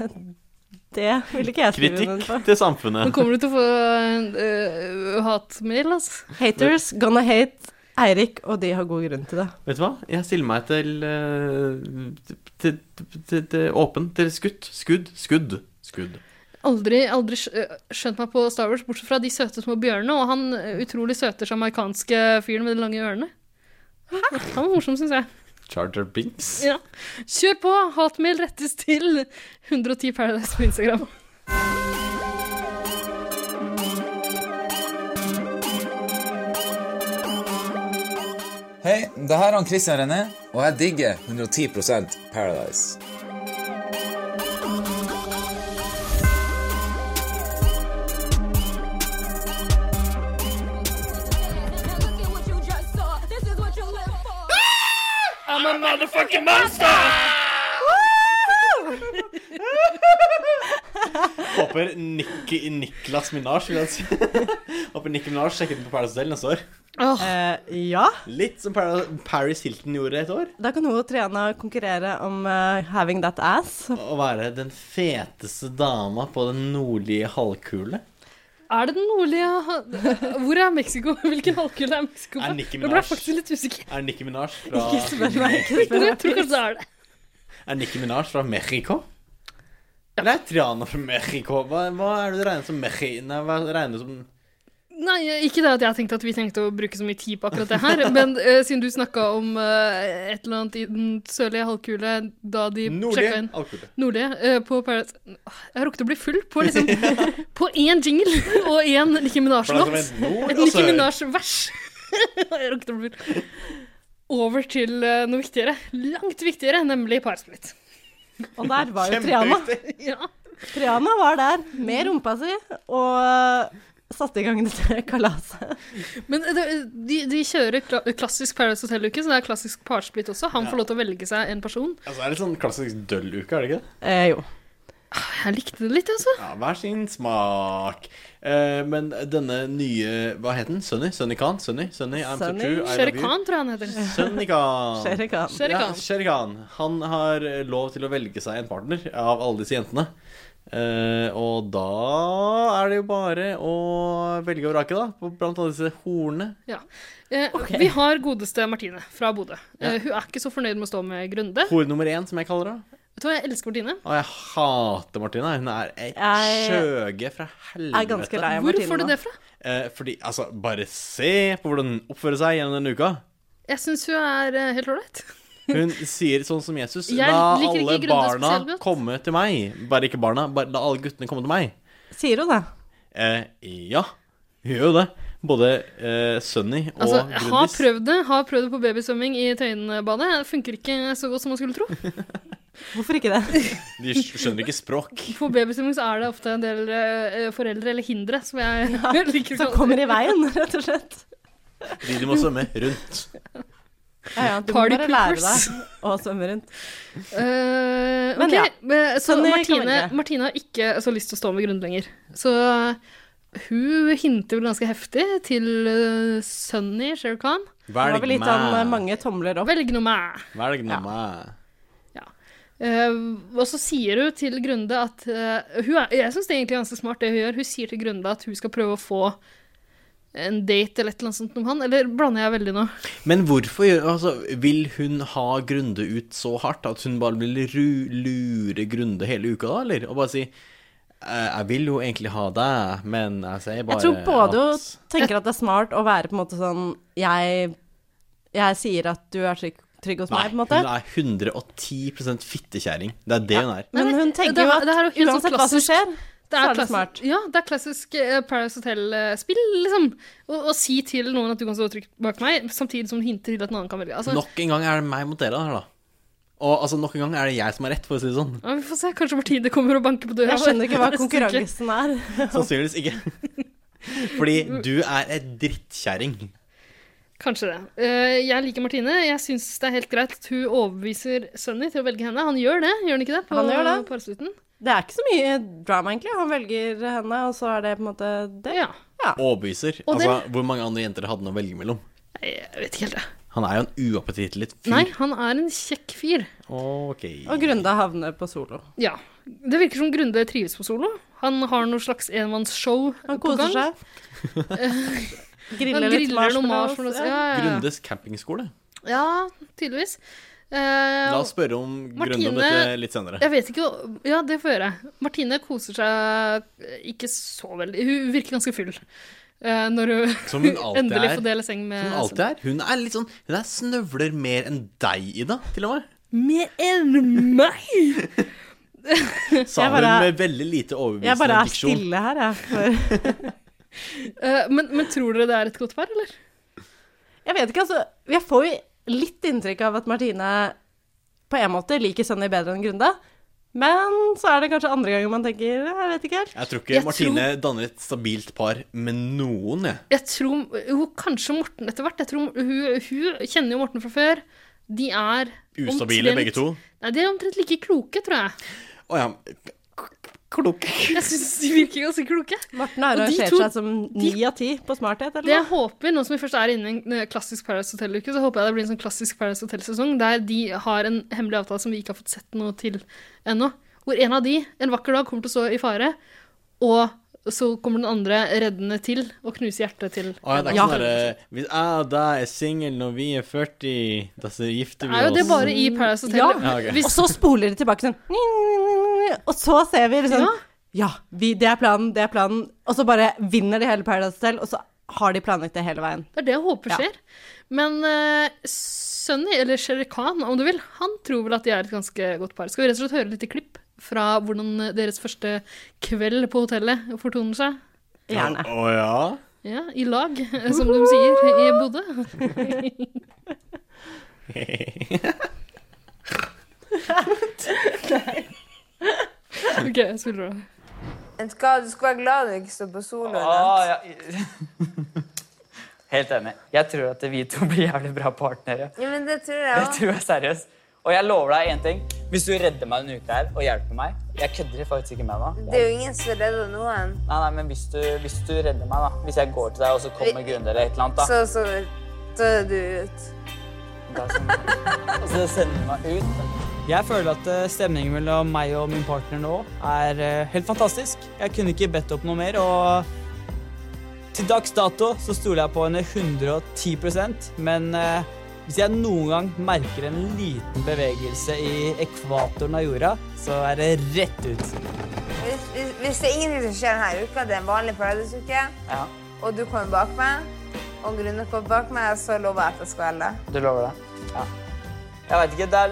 Speaker 1: Det ville ikke jeg skrive under
Speaker 3: Kritikk
Speaker 1: på.
Speaker 3: til
Speaker 4: Nå
Speaker 3: samfunnet.
Speaker 4: kommer du til å få eh, hatmail, altså.
Speaker 1: Haters gonna hate Eirik, og de har god grunn til det.
Speaker 3: Vet du hva? Jeg stiller meg til eh, til, til, til, til åpen. Til skutt. Skudd. Skudd. Skudd.
Speaker 4: Aldri, aldri skj- eh, skjønt meg på Star Wars, bortsett fra de søte små bjørnene og han eh, utrolig søte sjamaikanske fyren med de lange ørene. Han var morsom, syns jeg.
Speaker 3: Charter Binks.
Speaker 4: Ja. Kjør på! Hatmail rettes til 110 Paradise på Instagram.
Speaker 6: Hei, det her er han Christian René, og jeg digger 110 Paradise.
Speaker 3: Håper Nikki, Niklas Minaj vil jeg si. Håper Nikki Minaj sjekker ut på Paradise Hotel neste år.
Speaker 4: Åh,
Speaker 1: Eh, ja,
Speaker 3: Litt som Para- Paris Hilton gjorde et år.
Speaker 1: da kan hun og Triana konkurrere om eh, having that ass.
Speaker 3: Å være den feteste dama på den nordlige halvkule.
Speaker 4: er det den nordlige ha- Hvor er Mexico? Hvilken halvkule er Mexico?
Speaker 3: Er Nicki
Speaker 4: Nå ble jeg
Speaker 3: Minaj?
Speaker 4: faktisk litt usikker.
Speaker 3: Er Nikki Minaj
Speaker 1: Ikke
Speaker 3: fra,
Speaker 1: spør meg, ikke spør
Speaker 4: Jeg
Speaker 1: meg.
Speaker 4: tror kanskje det er det.
Speaker 3: er Nicki Minaj fra Mexico? Eller er Triana fra Mexico? Hva, hva er det du regner som Mexi... Nei, hva regner du som
Speaker 4: Nei, ikke det at jeg tenkte at vi tenkte å bruke så mye tid på akkurat det her, men eh, siden du snakka om eh, et eller annet i den sørlige halvkule da de sjekka
Speaker 3: nordlige
Speaker 4: inn
Speaker 3: halvkule?
Speaker 4: Nordlige eh, på Paradise Åh, Jeg rukket å bli full på liksom På én jingle og én
Speaker 3: For
Speaker 4: Nicki
Speaker 3: det er
Speaker 4: Minaj-låt.
Speaker 3: som en nord altså,
Speaker 4: Et
Speaker 3: og
Speaker 4: Nicki
Speaker 3: sør.
Speaker 4: Minaj-vers. jeg rukket å bli full. Over til eh, noe viktigere. Langt viktigere, nemlig Parsplitt.
Speaker 1: Og der var jo Triana.
Speaker 3: Kjempeviktig.
Speaker 4: Ja.
Speaker 1: Triana var der med rumpa si og eh, satte i gang dette kalaset.
Speaker 4: Men eh, det- de, de kjører kla klassisk Paradise Hotel-uke, så det er klassisk Parsplitt også. Han får lov til å velge seg en person.
Speaker 3: Altså, det er litt sånn klassisk dølluke, er det ikke det?
Speaker 1: Eh, jo.
Speaker 4: Ah, Jeg likte det litt, altså.
Speaker 3: Ja, hver sin smak. Eh, men denne nye Hva het den? Sunny? Sunny Khan? Sunny? Sunny, I'm
Speaker 1: Sunny?
Speaker 3: so true. I
Speaker 4: Shere
Speaker 3: love you.
Speaker 4: Khan, tror jeg han heter.
Speaker 3: Sunny Khan.
Speaker 1: Shere Khan.
Speaker 4: Shere
Speaker 3: Ja,
Speaker 4: Khan.
Speaker 3: Shere Khan. Han har eh, lov til å velge seg en partner av alle disse jentene. Eh, og da er det jo bare å velge og vrake, da. På blant annet disse hornene.
Speaker 4: Ja. Eh, Vi har godeste Martine fra Bodø. Eh, hun er ikke så fornøyd med å stå med Grunde.
Speaker 3: Hore nummer én, som jeg kaller henne.
Speaker 4: Vet du hva, jeg elsker Martine.
Speaker 3: Og jeg hater Martina. Hun er et
Speaker 1: Jeg-
Speaker 3: skjøge fra helvete.
Speaker 1: Er ganske lei av
Speaker 4: Hvor
Speaker 1: Martine
Speaker 4: får du
Speaker 1: nå.
Speaker 4: det fra?
Speaker 3: Eh, fordi, altså, bare se på hvordan hun oppfører seg gjennom denne uka.
Speaker 4: Jeg syns hun er eh, helt ålreit.
Speaker 3: Hun sier sånn som Jesus
Speaker 4: Jeg
Speaker 3: La
Speaker 4: liker ikke
Speaker 3: alle
Speaker 4: Grunde
Speaker 3: barna
Speaker 4: spesielt godt.
Speaker 3: komme til meg. Bare ikke barna, bare la alle guttene komme til meg.
Speaker 1: Sier hun det?
Speaker 3: Eh, ja, hun gjør jo det. Både eh, Sunny og
Speaker 4: Altså, har
Speaker 3: Grundis.
Speaker 4: prøvd det har prøvd det på babysvømming i Tøyenbadet. Det Funker ikke så godt som man skulle tro.
Speaker 1: Hvorfor ikke det?
Speaker 3: De skjønner ikke språk.
Speaker 4: På babysvømming så er det ofte en del eh, foreldre, eller hindre, som jeg liker å
Speaker 1: Som
Speaker 4: kalle
Speaker 1: kommer
Speaker 4: det.
Speaker 1: i veien, rett og slett.
Speaker 3: De de må svømme rundt.
Speaker 1: Ja, ja, du må
Speaker 4: Party
Speaker 1: bare lære
Speaker 4: poopers.
Speaker 1: deg å svømme rundt.
Speaker 4: Eh,
Speaker 1: Men
Speaker 4: ok,
Speaker 1: ja,
Speaker 4: men så
Speaker 1: sånn kan
Speaker 4: Martine,
Speaker 1: velge.
Speaker 4: Martine har ikke så lyst til å stå med Grunde lenger. Så hun hinter vel ganske heftig til uh, Sunny Shere Khan.
Speaker 1: Det var vel
Speaker 3: Velg
Speaker 1: litt om eh,
Speaker 3: meg.
Speaker 1: mange tomler opp.
Speaker 4: Velg noe meg.
Speaker 3: Velg nå meg.
Speaker 4: Eh, og så sier hun til Grunde at eh, hun er, Jeg syns det er egentlig ganske smart, det hun gjør. Hun sier til Grunde at hun skal prøve å få en date eller et eller annet sånt om han, eller blander jeg veldig nå?
Speaker 3: Men hvorfor gjør Altså, vil hun ha Grunde ut så hardt at hun bare vil ru, lure Grunde hele uka, da, eller? Og bare si «Eh, Jeg vil jo egentlig ha deg, men jeg sier bare
Speaker 1: Jeg tror både hun
Speaker 3: at
Speaker 1: tenker at det er smart å være på en måte sånn Jeg, jeg sier at du er trygg, trygg hos
Speaker 3: Nei,
Speaker 1: meg, på en
Speaker 3: hun
Speaker 1: måte.
Speaker 3: er 110 fittekjerring. Det er det hun er.
Speaker 1: Men hun
Speaker 4: det
Speaker 1: tenker
Speaker 4: er-
Speaker 1: jo at
Speaker 4: det her er jo helt sånn
Speaker 1: uansett hva som
Speaker 4: klassisk-
Speaker 1: skjer,
Speaker 4: Det
Speaker 1: så
Speaker 4: er
Speaker 1: er det
Speaker 4: klassisk,
Speaker 1: smart.
Speaker 4: Ja, det er klassisk eh, Paradise Hotel-spill, liksom. Å å si til noen at du kan stå trygt bak meg, samtidig som du hinter til at en annen kan velge. Altså,
Speaker 3: Nok en gang er det meg mot dere her, da. Og altså, nok en gang er det jeg som er rett, for å si det sånn.
Speaker 4: ja, vi får se. Kanskje Martine kommer og banker på døra.
Speaker 1: Jeg skjønner ikke hva
Speaker 4: neste uke.
Speaker 1: konkurransen er.
Speaker 3: Sannsynligvis ikke. Fordi du er ei drittkjerring.
Speaker 4: Kanskje det. Eh, jeg liker Martine. Jeg syns det er helt greit at hun overbeviser Sunny til å velge henne. Han gjør det, gjør han ikke det? På
Speaker 1: Han gjør det.
Speaker 4: på avsluten?
Speaker 1: Det er ikke så mye drama, egentlig. Han velger henne, og så er det på en måte det.
Speaker 4: Ja.
Speaker 3: Overbeviser.
Speaker 4: Og
Speaker 3: Altså, hvor mange andre jenter hadde han å velge mellom?
Speaker 4: Nei, Jeg vet ikke helt, jeg.
Speaker 3: Han er jo en uappetittlig fyr.
Speaker 4: Nei, han er en kjekk fyr.
Speaker 3: Ok.
Speaker 1: Og Grunde havner på solo.
Speaker 4: Ja. Det virker som Grunde trives på solo. Han har noe slags enmannsshow
Speaker 1: Han
Speaker 4: på
Speaker 1: koser
Speaker 4: gang.
Speaker 1: seg.
Speaker 4: Han
Speaker 1: griller litt
Speaker 4: griller noe
Speaker 1: marshmallows.
Speaker 4: marshmallows. Ja, ja, ja.
Speaker 3: Grundes campingskole.
Speaker 4: ja tydeligvis. Eh,
Speaker 3: La oss spørre om Grunde om
Speaker 4: Martine-
Speaker 3: dette litt senere.
Speaker 4: jeg vet ikke Ja, det får jeg gjøre. Martine koser seg eh, ikke så veldig. Hun virker ganske full eh, når hun
Speaker 3: Som hun alltid
Speaker 4: endelig
Speaker 3: er.
Speaker 4: får dele seng med
Speaker 3: Som hun alltid er. Hun er litt sånn Hun er snøvler mer enn deg, Ida, til og med.
Speaker 4: Med en meg!
Speaker 3: Sa
Speaker 1: Jeg
Speaker 3: hun
Speaker 1: bare-
Speaker 3: med veldig
Speaker 1: Jeg
Speaker 3: lite
Speaker 1: bare
Speaker 3: overbevisende
Speaker 1: er
Speaker 3: diksjon.
Speaker 1: stille her, jeg. For
Speaker 4: Eh, men, men tror dere det er et godt par, eller?
Speaker 1: jeg vet ikke, altså. Jeg får jo litt inntrykk av at Martine på en måte liker Sunny bedre enn Grunde. Men så er det kanskje andre ganger man tenker Jeg vet ikke helt.
Speaker 3: Jeg tror ikke
Speaker 4: Jeg
Speaker 3: Martine danner et stabilt par med noen, jeg.
Speaker 4: Jeg tror jo, Kanskje Morten etter hvert. Jeg tror, hun, hun kjenner jo Morten fra før. De er
Speaker 3: Ustabile, begge to.
Speaker 4: Nei, De er omtrent like kloke, tror jeg.
Speaker 3: Å ja. Klok.
Speaker 4: Jeg syns de virker ganske kloke.
Speaker 1: Morten har
Speaker 4: Og de
Speaker 1: arrangert
Speaker 4: to-
Speaker 1: seg som ni av ti på smarthet,
Speaker 4: Det
Speaker 1: eller
Speaker 4: jeg
Speaker 1: noe.
Speaker 4: håper, Nå som vi først er inne i en eh, klassisk Paradise Hotel-uke, så håper jeg det blir en sånn klassisk Paradise Hotel-sesong der de har en hemmelig avtale som vi ikke har fått sett noe til ennå. Hvor en av de en vakker dag kommer til å stå i fare, og så kommer den andre reddende til og knuser hjertet til.
Speaker 3: Å ja, det er ikke
Speaker 1: Ja.
Speaker 3: sånn derre Hvis jeg og deg er singel når vi er 40, da så gifter vi
Speaker 4: Er jo det
Speaker 3: oss.
Speaker 4: bare i Paradise Hotel?
Speaker 1: Ja.
Speaker 3: Ja, ok.
Speaker 1: Og
Speaker 4: Hvis,
Speaker 1: så spoler de tilbake sånn Og så ser vi liksom
Speaker 4: Ja.
Speaker 1: Ja, vi, det er planen, det er planen. Og så bare vinner de hele Paradise Hotel, og så har de planlagt det hele veien.
Speaker 4: det er det jeg håper
Speaker 1: Ja.
Speaker 4: skjer. Men eh, Sunny, eller Shere Khan om du vil, han tror vel at de er et ganske godt par. Skal vi rett og slett høre et lite klipp fra hvordan deres første kveld på hotellet fortoner seg?
Speaker 1: Gjerne.
Speaker 3: Å å ja?
Speaker 4: Ja, i lag, som de sier i Bodø. OK, jeg spiller av.
Speaker 7: En skal, du skal være glad du ikke står på soloen.
Speaker 8: Ah, ja. Helt enig. Jeg tror at vi to blir jævlig bra partnere.
Speaker 7: Ja, men det tror jeg
Speaker 8: Jeg
Speaker 7: også.
Speaker 8: tror jeg er seriøs. Og jeg lover deg en ting. Hvis du redder meg denne uka her og hjelper meg Jeg kødder faktisk ikke med deg.
Speaker 7: Det er jo ingen som redder noen.
Speaker 8: Nei, nei, men hvis du, hvis du redder meg, da. Hvis jeg går til deg og så kommer Grunde eller et eller annet, da.
Speaker 7: Så, så, så er du ut.
Speaker 8: da sender- og så sender du meg ut. Jeg føler at eh, stemningen mellom meg og min partner nå er eh, helt fantastisk. Jeg kunne ikke bedt opp noe mer, og Til dags dato så stoler jeg på henne 110 men eh, hvis jeg noen gang merker en liten bevegelse i ekvatoren av jorda, så er det rett ut.
Speaker 7: Hvis, hvis, hvis det er ingenting som skjer denne uka, det er en vanlig paradisuke,
Speaker 8: Ja,
Speaker 7: og du kommer bak meg, og Grunne kommer bak meg, så lover jeg at jeg skal velge.
Speaker 8: du lover det? Ja. Jeg veit ikke, det er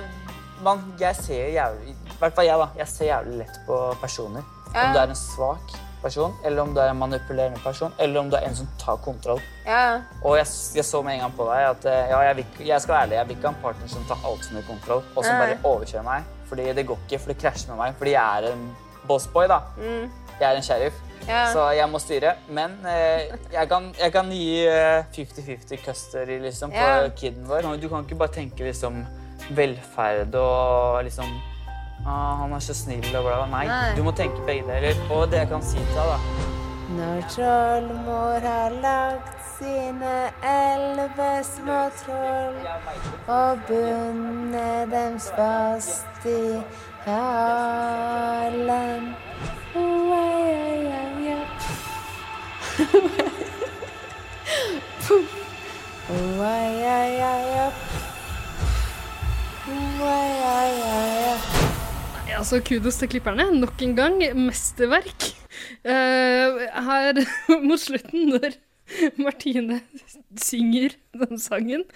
Speaker 8: Man, jeg ser jævlig I hvert fall jeg, da. Jeg ser jævlig lett på personer.
Speaker 7: Ja.
Speaker 8: Om du er en svak person, eller om du er en manipulerende person, eller om du er en som tar kontroll.
Speaker 7: Ja,
Speaker 8: Og jeg, jeg så med en gang på deg at eh, ja, jeg, vil, ikke- jeg skal være ærlig, jeg vil ikke ha en partner som tar altfor mye kontroll, og som bare
Speaker 7: Nei.
Speaker 8: overkjører meg. Fordi det går ikke, for det krasjer med meg. Fordi jeg er en bossboy, da. Jeg er en sheriff.
Speaker 7: Mm. Ja.
Speaker 8: Så jeg må styre. Men eh, jeg, kan, jeg kan gi eh, 50-50 custody liksom, på
Speaker 7: Ja.
Speaker 8: kiden vår. Du kan ikke bare tenke liksom, velferd og liksom ah, Han er så snill og bla, bla. Nei,
Speaker 7: Nei.
Speaker 8: du må tenke begge deler. Og det jeg kan si til deg, da
Speaker 7: Når trollmor har lagt sine elleve små troll og bundet dem fast i halen. Oi, oi, oi, oi. Way, ay, ay, up. Way, ay, ay, up.
Speaker 4: Ja, altså kudos til klipperne. Nok en gang mesterverk. Eh, her mot slutten, når Martine synger den sangen,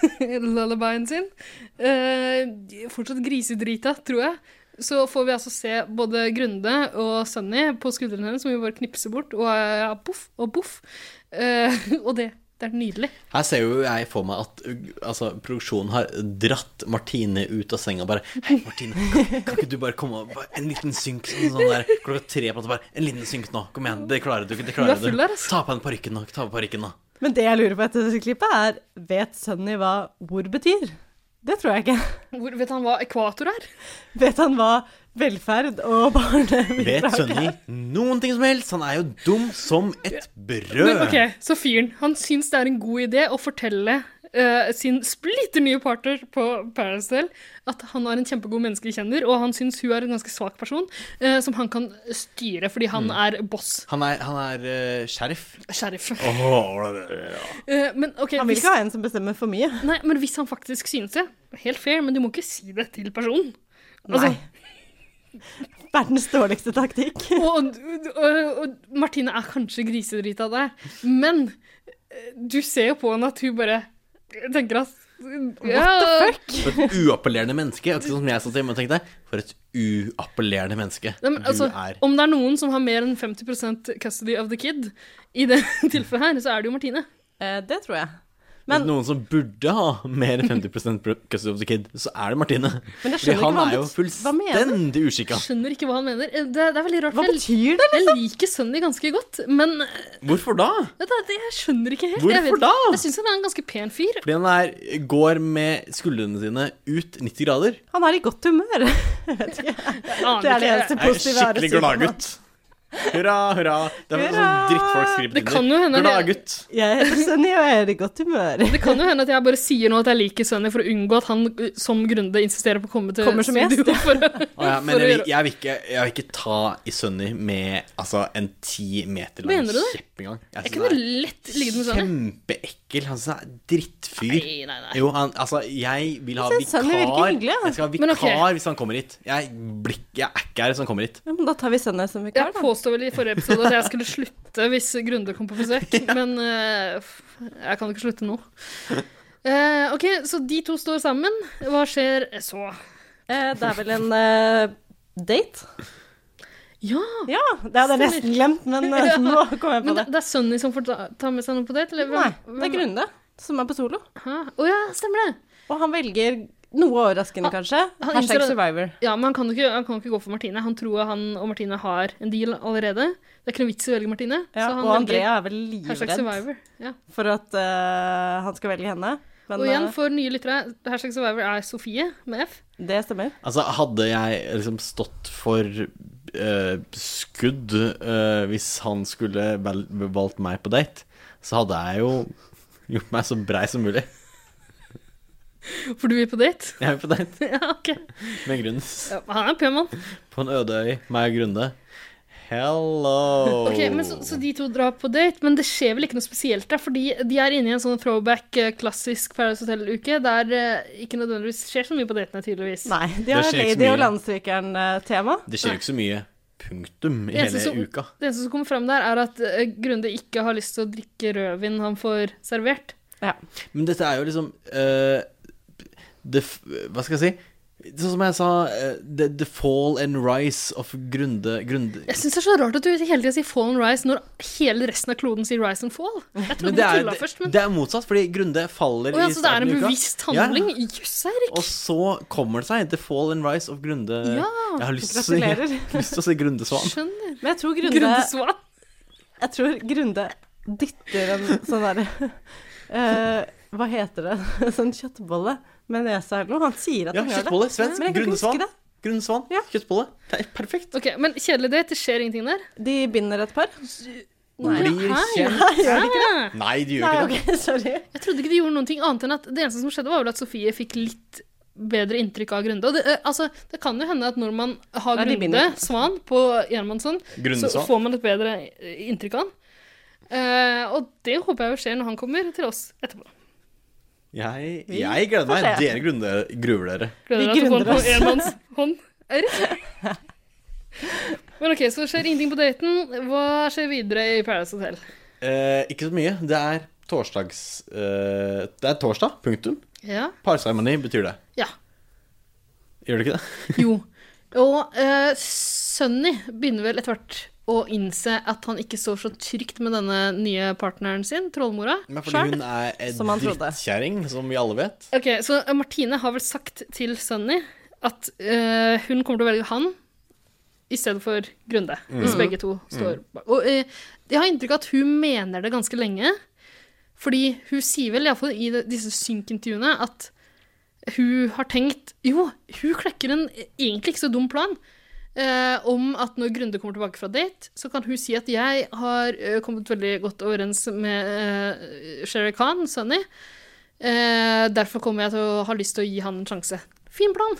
Speaker 4: lullabyen sin, eh, fortsatt grisedrita, tror jeg, så får vi altså se både Grunde og Sunny på skuldrene hennes, som vi bare knipser bort, og eh, boff og boff. Eh, og det, det er nydelig.
Speaker 3: Her ser jo jeg for meg at uh, altså, produksjonen har dratt Martine ut av senga og bare Hei, Martine, kan, kan ikke du bare komme og bare, En liten synk sånn, sånn der klokka tre på natta. Bare en liten synk nå. Kom igjen. Det klarer du. Det
Speaker 4: Du er
Speaker 3: klarer du.
Speaker 4: full her, altså.
Speaker 3: Ta på den parykken nå. Ta på parykken nå.
Speaker 1: Men det jeg lurer på etter dette klippet, er Vet Sunny hva ord betyr? Det tror jeg ikke.
Speaker 4: Hvor, vet han hva ekvator er?
Speaker 1: Vet han hva velferd og
Speaker 3: Vet
Speaker 1: barnebidrag er?
Speaker 3: Sunny noen ting som helst? Han er jo dum som et brød.
Speaker 4: Men ok, så fyren, han syns det er en god idé å fortelle eh, sin splitter nye partner på Paradise Hotel at han er en kjempegod menneskelig kjenner, og han syns hun er en ganske svak person eh, som han kan styre fordi han er boss.
Speaker 3: Han er, han er eh, sheriff.
Speaker 4: Sheriff.
Speaker 3: Åh, ja.
Speaker 4: Eh, men ok,
Speaker 1: Han vil
Speaker 4: hvis,
Speaker 1: ikke ha en som bestemmer for mye.
Speaker 4: nei, men hvis han faktisk synes det, helt fair, men du må ikke si det til personen. Altså,
Speaker 1: Nei. Verdens dårligste taktikk.
Speaker 4: og, og, og, og Martine er kanskje grisedrita der, men eh, du ser jo på henne at hun bare tenker at What the fuck?
Speaker 3: For et uappellerende menneske. Akkurat som jeg satt hjemme og tenkte. For et uappellerende menneske
Speaker 4: Nei, men, altså,
Speaker 3: du er.
Speaker 4: Om det er noen som har mer enn 50 custody of the kid, i det tilfellet her, så er det jo Martine.
Speaker 1: Eh, det tror jeg.
Speaker 3: Men,
Speaker 1: Men-
Speaker 3: noen som burde ha mer enn 50 custody of the kid, så er det Martine.
Speaker 1: Men jeg
Speaker 3: Fordi
Speaker 1: skjønner ikke
Speaker 3: han
Speaker 1: hva
Speaker 3: er jo
Speaker 1: han bet- hva mener han?
Speaker 3: fullstendig uskikka.
Speaker 4: Skjønner ikke hva han mener. Eh, Det, det er veldig rart.
Speaker 1: Hva
Speaker 4: for
Speaker 1: betyr det?
Speaker 4: jeg, jeg liker Sunny ganske godt, men eh,
Speaker 3: Hvorfor da?
Speaker 4: det, det, jeg skjønner ikke helt.
Speaker 3: Hvorfor
Speaker 4: jeg vet-
Speaker 3: da?
Speaker 4: Jeg syns han er en ganske pen fyr.
Speaker 3: Fordi han er, går med skuldrene sine ut 90 grader.
Speaker 1: Han er i godt humør.
Speaker 4: Jeg aner
Speaker 1: Det er det
Speaker 4: ikke.
Speaker 1: eneste
Speaker 3: Er
Speaker 1: positive jeg har å
Speaker 3: skikkelig
Speaker 1: si om han.
Speaker 3: gladgutt. Hurra, hurra. Det er
Speaker 1: Hurra!
Speaker 3: sånn drittfolk skriver på
Speaker 4: Det kan jo hende-
Speaker 3: Gladgutt.
Speaker 1: Jeg heter Sunny og jeg er i godt humør.
Speaker 4: Det kan jo hende at jeg bare sier nå at jeg liker Sunny for å unngå at han eh, som Grunde insisterer på å komme til
Speaker 1: Kommer som gjest.
Speaker 4: studio for å-
Speaker 3: Å ja, men
Speaker 4: for å
Speaker 3: jeg vil,
Speaker 4: gjøre-
Speaker 3: jeg, vil ikke, jeg vil ikke ta i Sunny med altså, en ti meter lang
Speaker 4: Mener du det?
Speaker 3: kjepp engang.
Speaker 4: Jeg kunne lett ligget med Sunny.
Speaker 3: Kjempeekkel. Han som er drittfyr.
Speaker 4: Nei, nei, nei.
Speaker 3: Jo, han, altså, jeg vil ha
Speaker 1: Jeg synes
Speaker 3: vikar.
Speaker 1: Sunny virker hyggelig, ja.
Speaker 3: Jeg skal ha
Speaker 4: altså. Men
Speaker 3: vikar
Speaker 4: ok.
Speaker 3: hvis han kommer hit. Jeg, blir ikke- jeg er ikke her hvis han kommer hit.
Speaker 1: Ja, men da tar vi Sunny som vikar,
Speaker 4: Jeg
Speaker 1: da.
Speaker 4: påstod vel i forrige episode at jeg skulle slutte hvis Grunde kom på besøk, men eh, f- jeg kan ikke slutte nå. Eh, ok, så de to står sammen. Hva skjer så?
Speaker 1: Eh, det er vel en eh, date?
Speaker 4: Ja,
Speaker 1: Ja, det hadde jeg nesten glemt, men eh,
Speaker 4: Ja.
Speaker 1: nå kom jeg på
Speaker 4: men det,
Speaker 1: det.
Speaker 4: det er Sunny som får ta, ta med seg noe på date? Eller?
Speaker 1: Nei, det er Grunde som er på solo.
Speaker 4: Å ja, stemmer det.
Speaker 1: Og han velger noe overraskende, kanskje.
Speaker 4: han
Speaker 1: Hashtag
Speaker 4: innser-
Speaker 1: survivor.
Speaker 4: Ja, men han kan, jo ikke, han kan jo ikke gå for Martine. Han tror han og Martine har en deal allerede. Det er ikke noe vits i å velge Martine.
Speaker 1: Ja,
Speaker 4: så han
Speaker 1: og
Speaker 4: velger
Speaker 1: Andrea er vel
Speaker 4: Hashtag
Speaker 1: livredd
Speaker 4: Survivor. Ja.
Speaker 1: for at eh, han skal velge henne. Men
Speaker 4: Og igjen,
Speaker 1: eh,
Speaker 4: for nye lyttere, Hashtag Survivor er Sofie med F.
Speaker 1: det stemmer.
Speaker 3: Altså, hadde jeg liksom stått for eh, skudd eh, hvis han skulle vel, valgt meg på date, så hadde jeg jo gjort meg så brei som mulig.
Speaker 4: For du vil på date?
Speaker 3: Jeg er på date
Speaker 4: ja, ok.
Speaker 3: med grunn.
Speaker 4: Ja, han er en pen mann.
Speaker 3: På en øde øy, meg og Grunde. Hello!
Speaker 4: Ok, men så, så de to drar på date, men det skjer vel ikke noe spesielt der, fordi de er inne i en sånn throwback, eh, klassisk Paradise Hotel-uke, der eh, ikke nødvendigvis skjer så mye på datene, tydeligvis.
Speaker 1: Nei, de
Speaker 3: Det
Speaker 1: har
Speaker 3: skjer ikke så
Speaker 1: Lady og
Speaker 3: mye.
Speaker 1: landstrykeren-tema.
Speaker 3: Det skjer jo ikke så mye punktum i
Speaker 4: Det eneste
Speaker 3: hele
Speaker 4: som-
Speaker 3: uka.
Speaker 4: Det eneste som kommer fram der, er at eh, Grunde ikke har lyst til å drikke rødvin han får servert.
Speaker 1: Ja.
Speaker 3: Men dette er jo liksom eh, det, f- Hva skal jeg si? Sånn som jeg sa, eh, the, the fall and rise of Grunde, grunde.
Speaker 4: Jeg syns det er så rart at du hele tida sier Fall and Rise når hele resten av kloden sier Rise and Fall. Jeg trodde
Speaker 3: Men
Speaker 4: du
Speaker 3: det er,
Speaker 4: tulla
Speaker 3: det,
Speaker 4: først, men
Speaker 3: det er motsatt, fordi Grunde faller
Speaker 4: Å ja,
Speaker 3: i
Speaker 4: så det er
Speaker 3: starten
Speaker 4: en
Speaker 3: av uka.
Speaker 4: bevisst
Speaker 3: Ja.
Speaker 4: handling? Jøss, Eirik.
Speaker 3: Og så kommer det seg. The fall and rise of Grunde.
Speaker 4: Ja,
Speaker 3: jeg har lyst til å si-
Speaker 1: Gratulerer.
Speaker 3: lyst til å si Grunde Svan.
Speaker 4: Skjønner.
Speaker 1: Men jeg tror Grunde,
Speaker 4: Grunde Svan.
Speaker 1: jeg tror Grunde dytter en sånn derre Hva heter det? Sånn kjøttbolle med nesa eller noe. Han sier at
Speaker 3: Ja,
Speaker 1: han gjør det.
Speaker 3: kjøttbolle. Svensk.
Speaker 1: Men jeg kan ikke
Speaker 3: Grunde
Speaker 1: huske
Speaker 3: Svan.
Speaker 1: det.
Speaker 3: Grunde Svan.
Speaker 1: Ja.
Speaker 3: Kjøttbolle. Det er perfekt.
Speaker 4: Ok, Men kjedelig date, det skjer ingenting der?
Speaker 1: De binder et par.
Speaker 3: Blir
Speaker 4: Hei.
Speaker 3: kjent.
Speaker 1: Nei, gjør de ikke det?
Speaker 4: Ah.
Speaker 3: Nei, de
Speaker 1: Nei,
Speaker 3: gjør ikke det.
Speaker 1: ok, sorry.
Speaker 4: Jeg trodde ikke de gjorde noen ting annet enn at det eneste som skjedde, var vel at Sofie fikk litt bedre inntrykk av Grunde. Og det, eh, altså, det kan jo hende at når man har
Speaker 1: Nei, de
Speaker 4: Grunde
Speaker 1: binder.
Speaker 4: Svan på Gjermansson,
Speaker 3: Grunde
Speaker 4: så
Speaker 3: Svan.
Speaker 4: får man et bedre eh, inntrykk av han. Eh, og det håper jeg jo skjer når han kommer til oss etterpå.
Speaker 3: Jeg, jeg gleder meg.
Speaker 1: får se.
Speaker 3: Dere grunder- gruer dere.
Speaker 4: Gleder
Speaker 1: Vi
Speaker 4: deg til å få den på
Speaker 1: grunder
Speaker 4: enmannshånd. Err. Men ok, så skjer ingenting på daten. Hva skjer videre i Paradise Hotel?
Speaker 3: Eh, ikke så mye. Det er torsdags eh, Det er torsdag, punktum.
Speaker 4: Ja.
Speaker 3: Parseremoni betyr det.
Speaker 4: ja.
Speaker 3: Gjør det ikke det?
Speaker 4: Jo. Og eh, Sunny begynner vel etter hvert å innse at han ikke står så trygt med denne nye partneren sin, trollmora.
Speaker 3: Men fordi
Speaker 4: Sjæl.
Speaker 3: hun er en
Speaker 1: Som han trodde.
Speaker 3: drittkjerring, som vi alle vet.
Speaker 4: Ok, så eh, Martine har vel sagt til Sunny at eh, hun kommer til å velge han i stedet for Grunde, hvis begge to står bak. Og eh, jeg har inntrykk av at hun mener det ganske lenge, fordi hun sier vel, iallfall i de- disse synkintervjuene, at hun har tenkt Jo, hun klekker en egentlig ikke så dum plan. Eh, om at når Grunde kommer tilbake fra date, så kan hun si at jeg har eh, kommet veldig godt overens med eh, Shere Khan, Sunny. Eh, derfor kommer jeg til å ha lyst til å gi han en sjanse. Fin plan.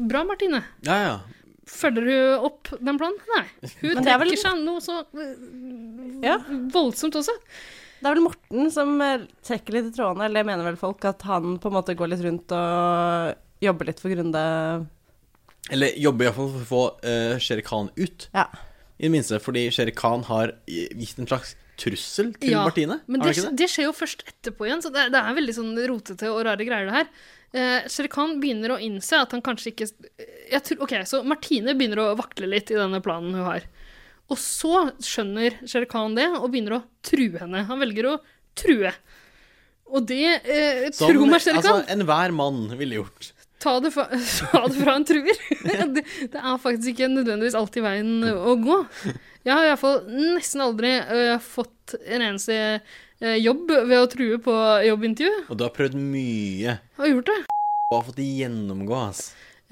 Speaker 4: Bra, Martine.
Speaker 3: Ja, ja.
Speaker 4: Følger hun opp den planen? Nei. Hun
Speaker 1: Men det er
Speaker 4: trekker
Speaker 1: vel-
Speaker 4: seg noe så eh,
Speaker 1: Ja.
Speaker 4: voldsomt også.
Speaker 1: Det er vel Morten som eh, trekker litt i trådene, eller det mener vel folk, at han på en måte går litt rundt og jobber litt for Grunde.
Speaker 3: Eller jobber iallfall for å få uh, Shere Khan ut,
Speaker 1: Ja.
Speaker 3: i det minste. Fordi Shere Khan har eh, gitt en slags trussel til
Speaker 4: Ja,
Speaker 3: Martine.
Speaker 4: Men
Speaker 3: har han
Speaker 4: det,
Speaker 3: ikke det?
Speaker 4: det skjer jo først etterpå igjen, så det, er- det er veldig sånn rotete og rare greier, det her. Eh, Shere Khan begynner å innse at han kanskje ikke eh, jeg tror, Ok, så Martine begynner å vakle litt i denne planen hun har. Og så skjønner Shere Khan det og begynner å true henne. Han velger å true. Og det eh,
Speaker 3: Som,
Speaker 4: Tro meg, Shere Khan!
Speaker 3: altså, enhver mann ville gjort.
Speaker 4: Ta det fra, ta det fra en truer. Det, det er faktisk ikke nødvendigvis alltid veien å gå. Jeg har iallfall nesten aldri øh, fått en eneste øh, jobb ved å true på jobbintervju.
Speaker 3: Og du har prøvd mye
Speaker 4: Jeg har gjort det.
Speaker 3: og har fått det gjennomgå, ass.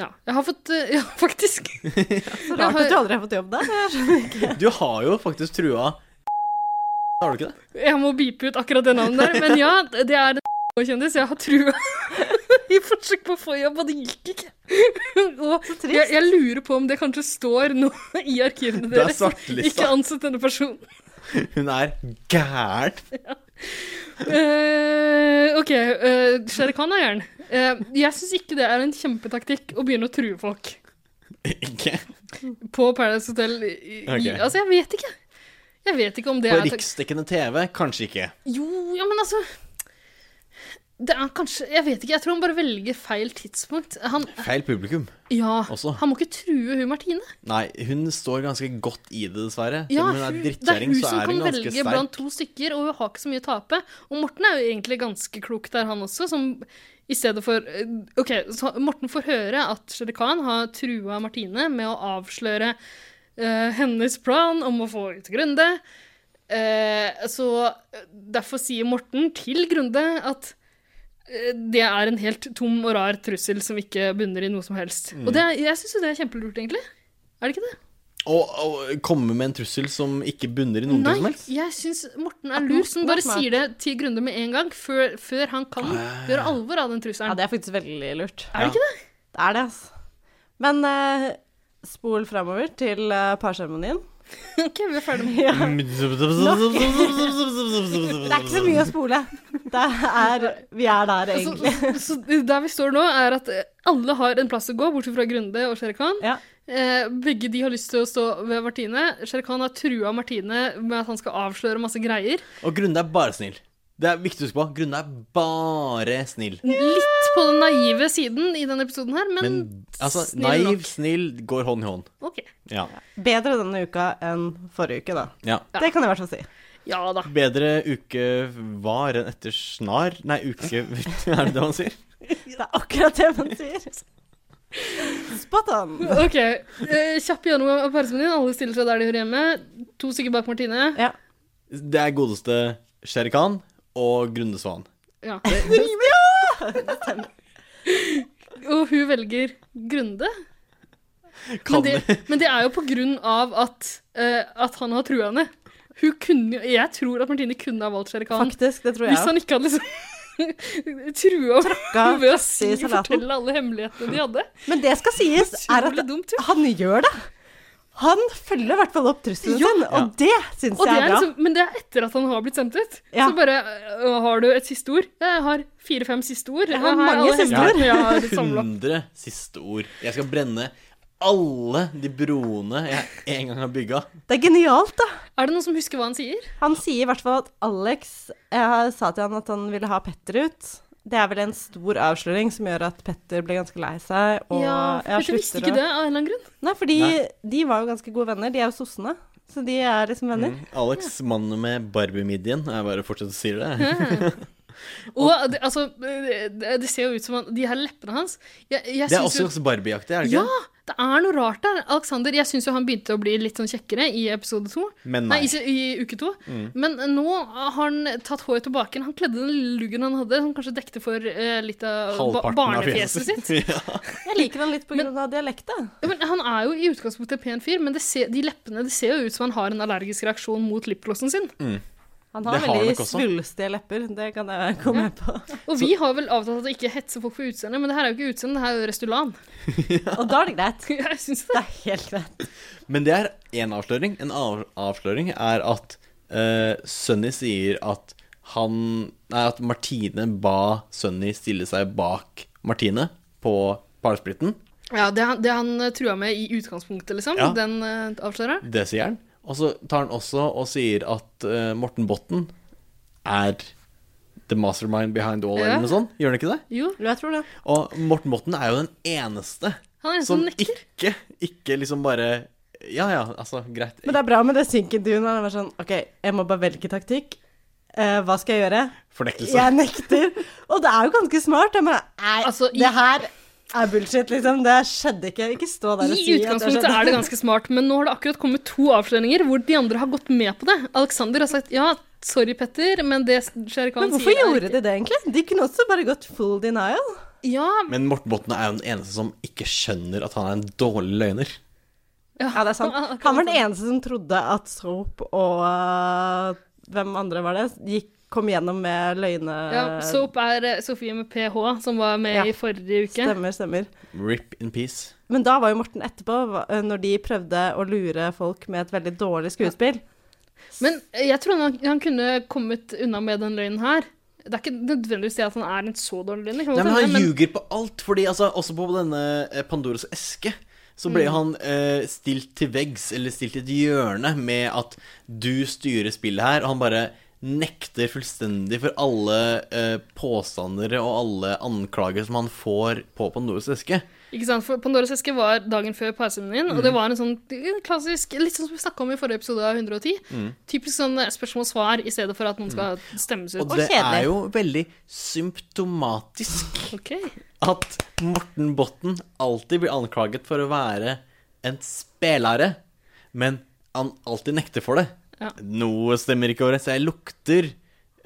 Speaker 4: Ja, jeg har fått øh, Ja, faktisk.
Speaker 1: Så rart
Speaker 4: har-
Speaker 1: at du aldri har fått jobb der. Jeg skjønner ikke.
Speaker 3: Du har jo faktisk trua Har du ikke det?
Speaker 4: Jeg må bipe ut akkurat det navnet der. Men ja, det er en kjendis. Jeg har trua i forsøk på å få jobb, og det gikk ikke. Og jeg, jeg lurer på om det kanskje står noe i arkivene
Speaker 3: Det er
Speaker 4: deres.
Speaker 3: svartelista.
Speaker 4: Ikke ansett denne personen.
Speaker 3: Hun er gæren.
Speaker 4: Eh, ok, uh, Shere Khan er jern. Eh, jeg syns ikke det er en kjempetaktikk å begynne å true folk
Speaker 3: Ikke?
Speaker 4: på Paradise Hotel. I, i,
Speaker 3: Ok.
Speaker 4: Altså, jeg vet ikke. Jeg vet ikke om det
Speaker 3: På
Speaker 4: er tak-
Speaker 3: riksdekkende TV, kanskje ikke.
Speaker 4: Jo, ja, men altså Det er kanskje Jeg vet ikke. Jeg tror han bare velger feil tidspunkt. Han,
Speaker 3: Feil publikum.
Speaker 4: ja,
Speaker 3: Også.
Speaker 4: han må ikke true hun Martine.
Speaker 3: Nei, hun står ganske godt i det, dessverre.
Speaker 4: Ja,
Speaker 3: Selv om hun er
Speaker 4: hun- det er
Speaker 3: drittkjerring,
Speaker 4: hun
Speaker 3: så
Speaker 4: som
Speaker 3: er
Speaker 4: kan
Speaker 3: hun ganske
Speaker 4: velge
Speaker 3: sterk.
Speaker 4: blant to stykker, og hun har ikke så mye å tape. Og Morten er jo egentlig ganske klok der, han også, som i stedet for eh, OK, så Morten får høre at Shere Khan har trua Martine med å avsløre eh, hennes plan om å få ut Grunde. Eh, så eh, derfor sier Morten til Grunde at eh, det er en helt tom og rar trussel som ikke bunner i noe som helst.
Speaker 3: Mm.
Speaker 4: Og det, er- jeg syns jo det er kjempelurt, egentlig. Er det ikke det?
Speaker 3: Og, og komme med en trussel som ikke bunner i noen ting som
Speaker 4: Nei,
Speaker 3: helst.
Speaker 4: jeg syns Morten er lur,
Speaker 1: Morten
Speaker 4: som
Speaker 1: er
Speaker 4: bare
Speaker 1: smart.
Speaker 4: sier det til Grunde med en gang, før, før han kan
Speaker 3: Ah,
Speaker 4: gjøre alvor av den
Speaker 1: Ja,
Speaker 4: trusselen.
Speaker 1: det er faktisk veldig lurt.
Speaker 4: Er det ikke det?
Speaker 1: Det er det, altså. Men eh, spol framover til eh, parseremonien.
Speaker 4: Ok, vi er ferdig med
Speaker 1: Ja. Det er ikke så
Speaker 3: Nei,
Speaker 1: mye å spole. Det er, vi er der,
Speaker 4: så,
Speaker 1: egentlig.
Speaker 4: så der vi står nå, er at eh, alle har en plass å gå, bortsett fra Grunde og Shere Khan.
Speaker 1: Ja.
Speaker 4: Eh, begge de har lyst til å stå ved Martine. Shere Khan har trua Martine med at han skal avsløre masse greier.
Speaker 3: Og Grunde er bare snill. Det er viktig å huske på. Grunde er bare snill.
Speaker 4: Litt på den naive siden i denne episoden her, men,
Speaker 3: Men altså,
Speaker 4: snill nok.
Speaker 3: naiv, snill går hånd i hånd.
Speaker 4: OK.
Speaker 3: Ja.
Speaker 1: Bedre denne uka enn forrige uke, da.
Speaker 3: ja.
Speaker 1: Det kan jeg i hvert fall si.
Speaker 4: Ja da.
Speaker 3: Bedre uke var enn etter snar Nei, uke Er det det man sier?
Speaker 1: Det er akkurat det man sier. Spot on.
Speaker 4: OK. Eh, kjapp gjennomgang av parsemenyen. Alle stiller seg der de hører hjemme. To stykker bak Martine.
Speaker 1: Ja.
Speaker 3: Det er godeste Shere Khan og Grunde Svan.
Speaker 4: Ja. Og hun velger Grunde. Men
Speaker 3: Kan
Speaker 4: det, men det er jo på grunn av at, eh, at han har trua henne. Hun kunne, jo- jeg tror at Martine kunne ha valgt Shere Khan.
Speaker 1: Faktisk, det tror
Speaker 4: Hvis
Speaker 1: jeg.
Speaker 4: han ikke hadde liksom trua henne ved å si,
Speaker 1: i salaten.
Speaker 4: fortelle alle hemmelighetene de hadde.
Speaker 1: Men det skal sies, er
Speaker 4: Utrolig
Speaker 1: at
Speaker 4: dumt, jo.
Speaker 1: han gjør det. Han følger i hvert fall opp trusselen sin, og det syns
Speaker 4: Og det
Speaker 1: jeg
Speaker 4: er
Speaker 1: er bra.
Speaker 4: liksom, men det er etter at han har blitt sendt ut.
Speaker 1: Ja.
Speaker 4: Så bare øh, Har du et siste ord? Jeg har fire-fem siste ord. Jeg
Speaker 1: har mange
Speaker 4: alle
Speaker 1: siste
Speaker 4: hemmene
Speaker 1: ord.
Speaker 4: Jeg har samlet opp.
Speaker 3: 100 siste ord. Jeg skal brenne alle de broene jeg en gang har bygga.
Speaker 1: Det er genialt, da.
Speaker 4: Er det noen som husker hva han sier?
Speaker 1: Han sier i hvert fall at Alex Jeg sa til han at han ville ha Petter ut. Det er vel en stor avsløring som gjør at Petter ble ganske lei seg. Og
Speaker 4: ja,
Speaker 1: jeg
Speaker 4: Petter visste
Speaker 1: slutter
Speaker 4: ikke
Speaker 1: å-
Speaker 4: det av en eller annen grunn.
Speaker 1: Nei, fordi de var jo ganske gode venner. De er jo sossene, så de er liksom venner.
Speaker 3: Mm. Alex, mannen med Barbie-midjen. Jeg bare fortsetter å si
Speaker 4: Mhm.
Speaker 3: det.
Speaker 4: Og det, altså, det, det ser jo ut som han, de her leppene hans jeg, jeg
Speaker 3: Det er
Speaker 4: synes
Speaker 3: også
Speaker 4: jo-
Speaker 3: ganske Barbie-aktig, er det
Speaker 4: Ja,
Speaker 3: ikke?
Speaker 4: det er noe rart der. Alexander, jeg syns jo han begynte å bli litt sånn kjekkere i episode to.
Speaker 3: Men
Speaker 4: Nei,
Speaker 3: nei. Mm.
Speaker 4: ikke i uke to. Men nå har han tatt håret tilbake. Han kledde den luggen han hadde, som kanskje dekte for eh, litt av ba
Speaker 3: Halvparten av
Speaker 4: barnefjeset sitt.
Speaker 3: fjeset. ja.
Speaker 1: Jeg liker han litt på grunn av dialekta.
Speaker 4: Ja, Men han er jo i utgangspunktet en pen fyr, men det ser, de leppene det ser jo ut som han har en allergisk reaksjon mot lipglossen sin.
Speaker 3: Mm.
Speaker 1: Han
Speaker 3: Det
Speaker 1: har
Speaker 3: har
Speaker 1: veldig
Speaker 3: han nok også.
Speaker 1: svulstige lepper, det kan jeg gå med på.
Speaker 4: Og vi har vel avtalt at ikke hetse folk for utseende, men det her er jo ikke utseende, det her er jo Restulan.
Speaker 1: Og da er det greit.
Speaker 4: Jeg synes
Speaker 1: Det
Speaker 4: det.
Speaker 1: er helt greit.
Speaker 3: Men det er én avsløring. En av avsløring er at eh, Sunny sier at han Nei, at Martine ba Sunny stille seg bak Martine på parsplitten.
Speaker 4: Ja, det han, det han eh, trua med i utgangspunktet, liksom,
Speaker 3: Ja.
Speaker 4: den eh, avsløreren.
Speaker 3: Det sier han. Og så tar han også og sier at eh, Morten Botten er the mastermind behind all,
Speaker 4: Ja.
Speaker 3: eller noe sånt. Gjør han ikke det?
Speaker 4: Jo,
Speaker 1: Jo, jeg tror det.
Speaker 3: Og Morten Botten er jo den eneste
Speaker 4: han er en
Speaker 3: som
Speaker 4: som nekter.
Speaker 3: ikke, ikke liksom bare Ja ja, altså, greit.
Speaker 1: Men det er bra med det sinken du når han er sånn OK, jeg må bare velge taktikk. Eh, hva skal jeg gjøre?
Speaker 3: Fornektelse.
Speaker 1: Jeg nekter. Og det er jo ganske smart. Jeg bare Nei,
Speaker 4: Altså, i-
Speaker 1: det her er bullshit, liksom. Det skjedde ikke. Ikke stå der og
Speaker 4: I
Speaker 1: si at det sånn?
Speaker 4: utgangspunktet
Speaker 1: skjedde.
Speaker 4: er det ganske smart, men nå har det akkurat kommet to avsløringer hvor de andre har gått med på det. Alexander har sagt ja, sorry Petter, men det skjer ikke hva
Speaker 1: Men
Speaker 4: han
Speaker 1: hvorfor
Speaker 4: sier. er
Speaker 1: gjorde de det, egentlig? De kunne også bare gått full denial.
Speaker 4: riktig.» Ja,
Speaker 3: Men Morten Botten er jo den eneste som ikke skjønner at han er en dårlig løgner.
Speaker 1: Ja, det er sant. Han var den eneste som trodde at Soap og øh, hvem andre var det, gikk, kom gjennom med løgne...
Speaker 4: ja, Soap er eh, Sofie med ph, som var med
Speaker 1: Ja.
Speaker 4: i forrige uke.
Speaker 1: Stemmer, stemmer.
Speaker 3: Rip in peace.
Speaker 1: Men da var jo Morten etterpå, hva- øh, når de prøvde å lure folk med et veldig dårlig skuespill.
Speaker 4: Men eh, jeg tror han, han kunne kommet unna med den løgnen her. Det er ikke nødvendigvis det at han er en så dårlig løgner.
Speaker 3: Nei,
Speaker 4: kan godt
Speaker 3: men
Speaker 4: hende,
Speaker 3: han
Speaker 4: men-
Speaker 3: ljuger på alt, fordi altså, også på denne eh, Pandoras eske så
Speaker 4: Mm.
Speaker 3: ble han eh, stilt til veggs, eller stilt i et hjørne, med at du styrer spillet her, og han bare nekter fullstendig for alle eh, påstander og alle anklager som han får på Pandoras eske.
Speaker 4: Ikke sant? For Pandoras eske var dagen før parseremonien, og
Speaker 3: Mm.
Speaker 4: det var en sånn klassisk Litt sånn som vi snakka om i forrige episode av 110.
Speaker 3: Mm.
Speaker 4: Typisk sånn spørsmål-svar i stedet for at noen skal stemmes ut.
Speaker 3: Og det
Speaker 1: kjedelig.
Speaker 3: er jo veldig symptomatisk
Speaker 4: Ok.
Speaker 3: at Morten Botten alltid blir anklaget for å være en spelare, men han alltid nekter for det.
Speaker 4: Ja.
Speaker 3: Noe stemmer ikke overens. Jeg lukter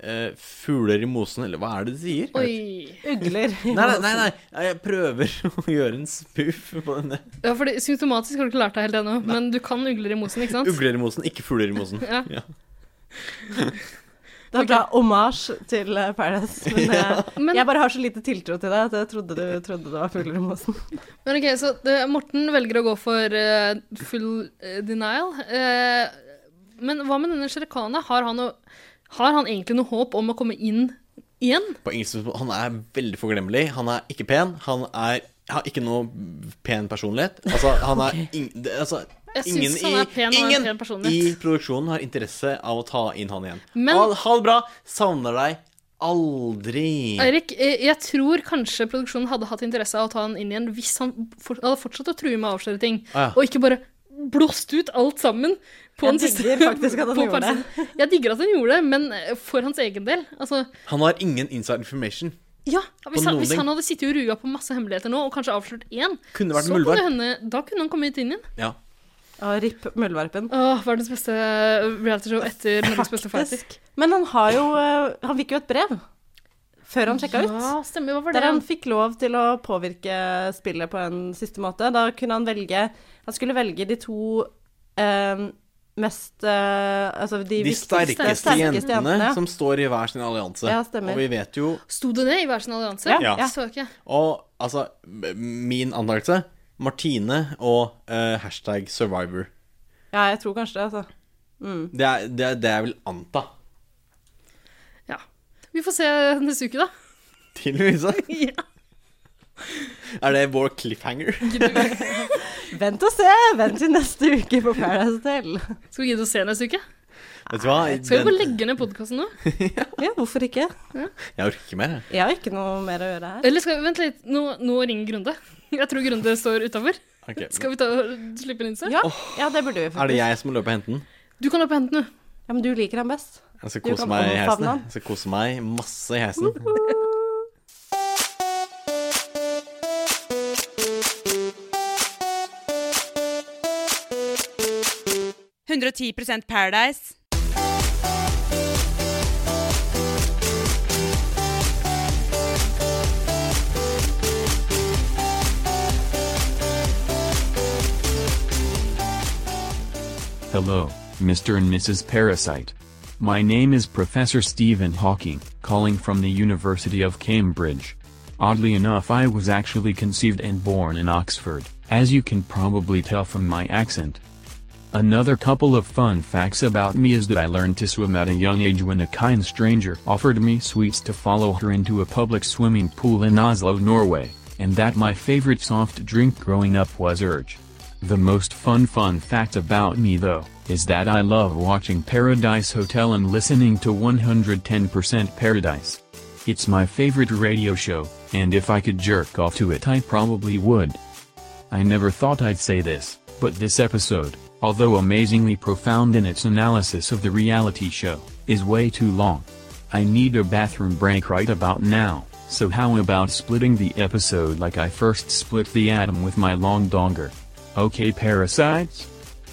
Speaker 3: eh, fugler i mosen, eller hva er det de sier? Jeg vet ikke.
Speaker 4: Oi.
Speaker 1: Ugler.
Speaker 3: Nei, nei, nei, nei, jeg prøver å gjøre en spoof på denne.
Speaker 4: Ja, fordi Symptomatisk har du ikke lært deg helt ennå, men du kan ugler i mosen, ikke sant?
Speaker 3: Ugler i mosen, ikke fugler i mosen.
Speaker 4: Ja.
Speaker 1: Det er bra omasj til øh, Paradise, men, øh,
Speaker 4: Men-
Speaker 1: jeg bare har så lite tiltro til deg at jeg trodde du trodde det var fugler i mosen.
Speaker 4: Men ok, så det, Morten velger å gå for eh, full eh, denial. Eh, men hva med denne Sherekana? Har, han noe- har han egentlig noe håp om å komme inn igjen?
Speaker 3: På ingen tidspunkt- Han er veldig forglemmelig. Han er ikke pen. Han er, har ikke noe pen personlighet. Altså, han er ing- det- altså,
Speaker 4: Jeg syns
Speaker 3: Ingen,
Speaker 4: han er pen og
Speaker 3: i,
Speaker 4: har en pen
Speaker 3: ingen
Speaker 4: personlighet.
Speaker 3: i produksjonen har interesse av å ta inn han igjen.
Speaker 4: Men-
Speaker 3: ha, ha det bra. Savner deg aldri.
Speaker 4: Eirik, eh, jeg tror kanskje produksjonen hadde hatt interesse av å ta han inn igjen hvis han for, hadde fortsatt å true med å avsløre ting,
Speaker 3: Ah, ja.
Speaker 4: og ikke bare blåst ut alt sammen. På
Speaker 1: Jeg
Speaker 4: den siste-
Speaker 1: digger faktisk at han
Speaker 4: på
Speaker 1: gjorde det.
Speaker 4: parsen. Jeg digger at han gjorde det, men eh, for hans egen del. Altså,
Speaker 3: Han har ingen inside information.
Speaker 4: ja, hvis, han,
Speaker 3: noen
Speaker 4: hvis
Speaker 3: ting.
Speaker 4: han hadde sittet og ruga på masse hemmeligheter nå, og kanskje avslørt én,
Speaker 3: Kunne vært
Speaker 4: så
Speaker 3: en muldvarp.
Speaker 4: kunne hende, da kunne han kommet inn igjen.
Speaker 3: Ja.
Speaker 1: Å, ripp muldvarpen.
Speaker 4: Åh, verdens beste realityshow etter Norges beste fighter.
Speaker 1: Faktisk. Men han har jo øh, Han fikk jo et brev før han sjekka ut.
Speaker 4: Ja, stemmer. Hva var det?
Speaker 1: Der han fikk lov til å påvirke spillet på en siste måte. Da kunne han velge Han skulle velge de to eh, mest eh, Altså de,
Speaker 3: De
Speaker 1: viktigste-
Speaker 3: sterkeste, jentene,
Speaker 1: ja.
Speaker 3: som står i hver sin allianse.
Speaker 1: Ja, stemmer.
Speaker 3: og vi vet jo
Speaker 4: Sto det det i hver sin allianse?
Speaker 1: Ja,
Speaker 3: Ja.
Speaker 1: ja.
Speaker 4: Så ikke jeg.
Speaker 3: Og altså, m- min antakelse Martine og eh, hashtag survivor.
Speaker 1: Ja, jeg tror kanskje det, altså. Mm.
Speaker 3: Det er det, er det jeg vil anta.
Speaker 4: Ja. Vi får se neste uke, da.
Speaker 3: Til Louise.
Speaker 4: Ja.
Speaker 3: Er det vår cliffhanger?
Speaker 1: Vent og se! Vent til neste uke på Paradise Hotel.
Speaker 4: Skal vi gidde å se neste uke?
Speaker 3: Vet du hva?
Speaker 4: Skal vi
Speaker 3: Den,
Speaker 4: bare legge ned podkasten nå?
Speaker 1: Ja, hvorfor ikke?
Speaker 3: jeg orker ikke mer, jeg.
Speaker 1: Jeg har ikke noe mer å gjøre her.
Speaker 4: Eller skal vi, vent litt, nå, nå ringer Grunde. Jeg tror Grunde står utafor.
Speaker 3: Ok.
Speaker 4: Skal vi ta, slippe den inn? selv?
Speaker 1: Ja, ja det burde vi
Speaker 3: Er det
Speaker 1: faktisk.
Speaker 3: jeg som må løpe og hente den?
Speaker 4: Du kan løpe og hente den, du.
Speaker 1: Ja, men du liker ham best.
Speaker 3: Jeg skal
Speaker 1: Du
Speaker 3: kose
Speaker 1: kan
Speaker 3: meg i heisen.
Speaker 1: omfavne
Speaker 3: jeg.
Speaker 1: han.
Speaker 3: Jeg skal kose meg masse i heisen.
Speaker 2: Paradise.
Speaker 9: Hello, Mr. and Mrs. Parasite. My name is Professor Stephen Hawking, calling from the University of Cambridge. Oddly enough, I was actually conceived and born in Oxford, as you can probably tell from my accent. Another couple of fun facts about me is that I learned to swim at a young age when a kind stranger offered me sweets to follow her into a public swimming pool in Oslo, Norway, and that my favorite soft drink growing up was Urge. The most fun fun fact about me though, is that I love watching Paradise Hotel and listening to 110% Paradise. It's my favorite radio show, and if I could jerk off to it I probably would. I never thought I'd say this, but this episode, although amazingly profound in its analysis of the reality show, is way too long. I need a bathroom break right about now, so how about splitting the episode like I first split the atom with my long donger? Okay, parasites?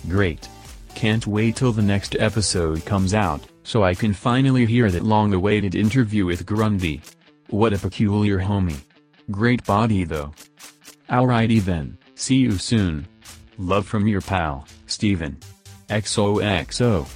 Speaker 9: Great. Can't wait till the next episode comes out, so I can finally hear that long awaited interview with Grundy. What a peculiar homie. Great body though. Alrighty then, see you soon. Love from your pal, Steven. XOXO.